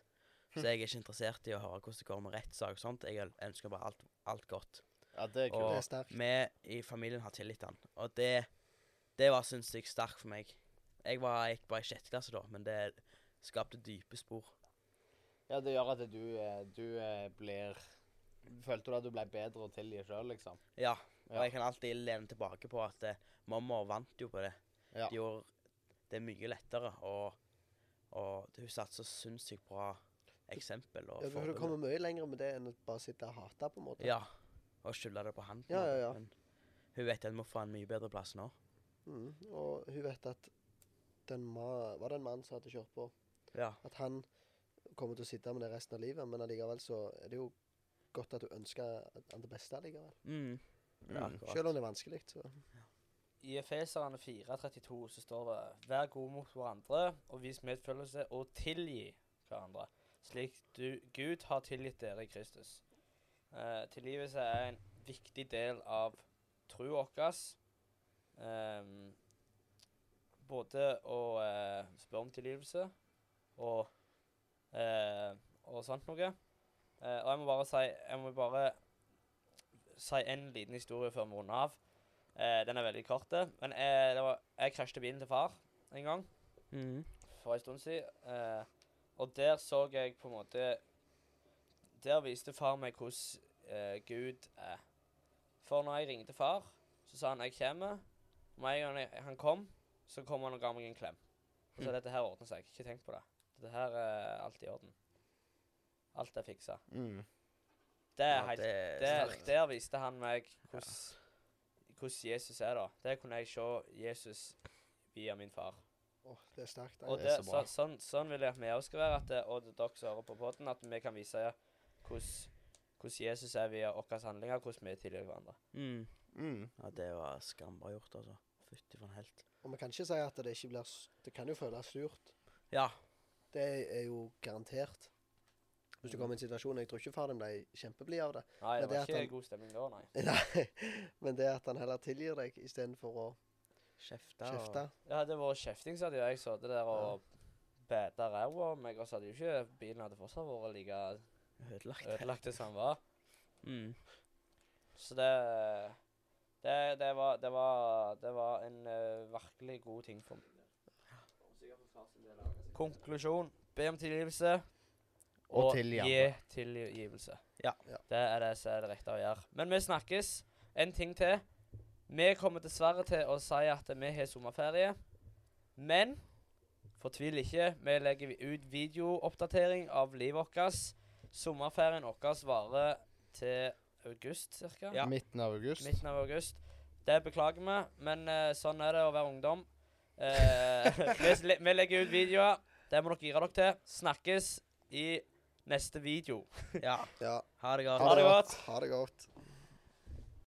S3: Så jeg er ikke interessert i å høre hvordan det går med rettssak og sånt. Jeg ønsker bare alt, alt godt.
S4: Ja, det er
S1: Det
S4: kult.
S1: er sterkt.
S3: Vi i familien har tillit til han. Og det, det var sinnssykt sterkt for meg. Jeg var, gikk bare i sjette klasse da, men det skapte dype spor.
S4: Ja, det gjør at du, eh, du eh, blir Følte du at du ble bedre å tilgi sjøl, liksom?
S3: Ja, og
S4: Ja.
S3: jeg kan alltid lene tilbake på at eh, mamma vant jo på det.
S4: Ja.
S3: Det gjorde det mye lettere, og, og hun satte så sinnssykt bra eksempel. Og
S1: Ja, for du
S3: forbilde.
S1: kommer mye lenger med det enn å bare sitte og hate, på en måte.
S3: Ja, og skylde det på han. på en
S1: Ja, ja,
S3: måte,
S1: ja.
S3: Men hun vet at vi må få en mye bedre plass nå.
S1: Mm. Og hun vet at den ma var det en mann som hadde kjørt på,
S3: Ja,
S1: at han kommer til å sitte med det resten av livet, men allikevel så er det jo godt at du ønsker han det beste allikevel.
S3: mm. ja akkurat.
S1: Selv om det er vanskelig. Så.
S2: I Efeserne 4.32 så står det Vær gode mot hverandre og vis medfølelse og tilgi hverandre, slik du, Gud har tilgitt dere i Kristus. Eh, tilgivelse er en viktig del av trua vår. Ehm, både å eh, spørre om tilgivelse og, eh, og sånt noe. Eh, og jeg må bare si Jeg må bare si en liten historie før vi runder av. Eh, Eh, den er veldig kort. eh. Men eh, det var, jeg krasjet bilen til far en gang
S3: Mm.
S2: for en stund siden. Eh, og der så jeg på en måte Der viste far meg hvordan eh, Gud er. For når jeg ringte far, så sa han 'jeg kommer'. Og med en gang jeg- han kom, så kom han og ga meg en klem. Og sa
S3: Mm.
S2: 'dette her ordner seg'. Ikke tenk på det. Dette her er alt i orden. Alt er fiksa.
S4: Mm.
S2: Det er
S3: Ja,
S2: helt
S3: det er
S2: der,
S3: sterkt.
S2: der viste han meg hvordan hvordan Jesus er, da. Der kunne jeg se Jesus via min far.
S1: Åh, det er sterkt.
S2: Og
S1: Einar.
S2: det,
S4: er så
S2: så,
S4: bra.
S2: sånn, sånn vil jeg at vi også skal være, at, det- og dere som hører på podden, at vi kan vise hvordan hvordan Jesus er via våre handlinger, hvordan vi tilgir hverandre.
S3: Mm.
S4: Mm.
S3: Ja, det var skambra gjort, altså. Fytti for en helt.
S1: Og vi kan ikke si at det ikke blir s- Det kan jo føles surt.
S3: Ja.
S1: Det er jo garantert. Hvis du kommer i en situasjon Jeg tror ikke far din ble kjempeblid av det.
S2: Nei,
S1: Men det
S2: det var
S1: at
S2: ikke
S1: han-
S2: god stemning da, nei.
S1: Nei, men det at han heller tilgir deg istedenfor å
S3: Kjefta. og-
S1: kjefte
S2: Det hadde vært kjefting, så hadde jo jeg sittet der og beta ræva av meg, og så hadde jo ikke bilen hadde fortsatt vært like
S3: Ødelagt.
S2: ødelagt som den var.
S3: Mm.
S2: Så det det, det, var, det, var, det var en eh, virkelig god ting for meg. Konklusjon. Be om tilgivelse.
S4: Og
S2: gi
S4: tilgivelse.
S2: tilgivelse.
S3: Ja.
S1: Ja.
S2: Det er det som er det rette å gjøre. Men vi snakkes. En ting til. Vi kommer dessverre til å si at vi har sommerferie. Men fortvil ikke. Vi legger vi- ut videooppdatering av livet vårt. Sommerferien vår varer til august ca.
S3: Ja.
S4: Midten av august.
S2: Midten av august. Det beklager vi, men eh, sånn er det å være ungdom. Eh, vi, s- vi legger ut videoer. Det må dere gire dere til. Snakkes i neste video.
S3: Ja.
S1: Ja.
S3: Ha det godt.
S2: Ha det godt.
S1: Ha det godt.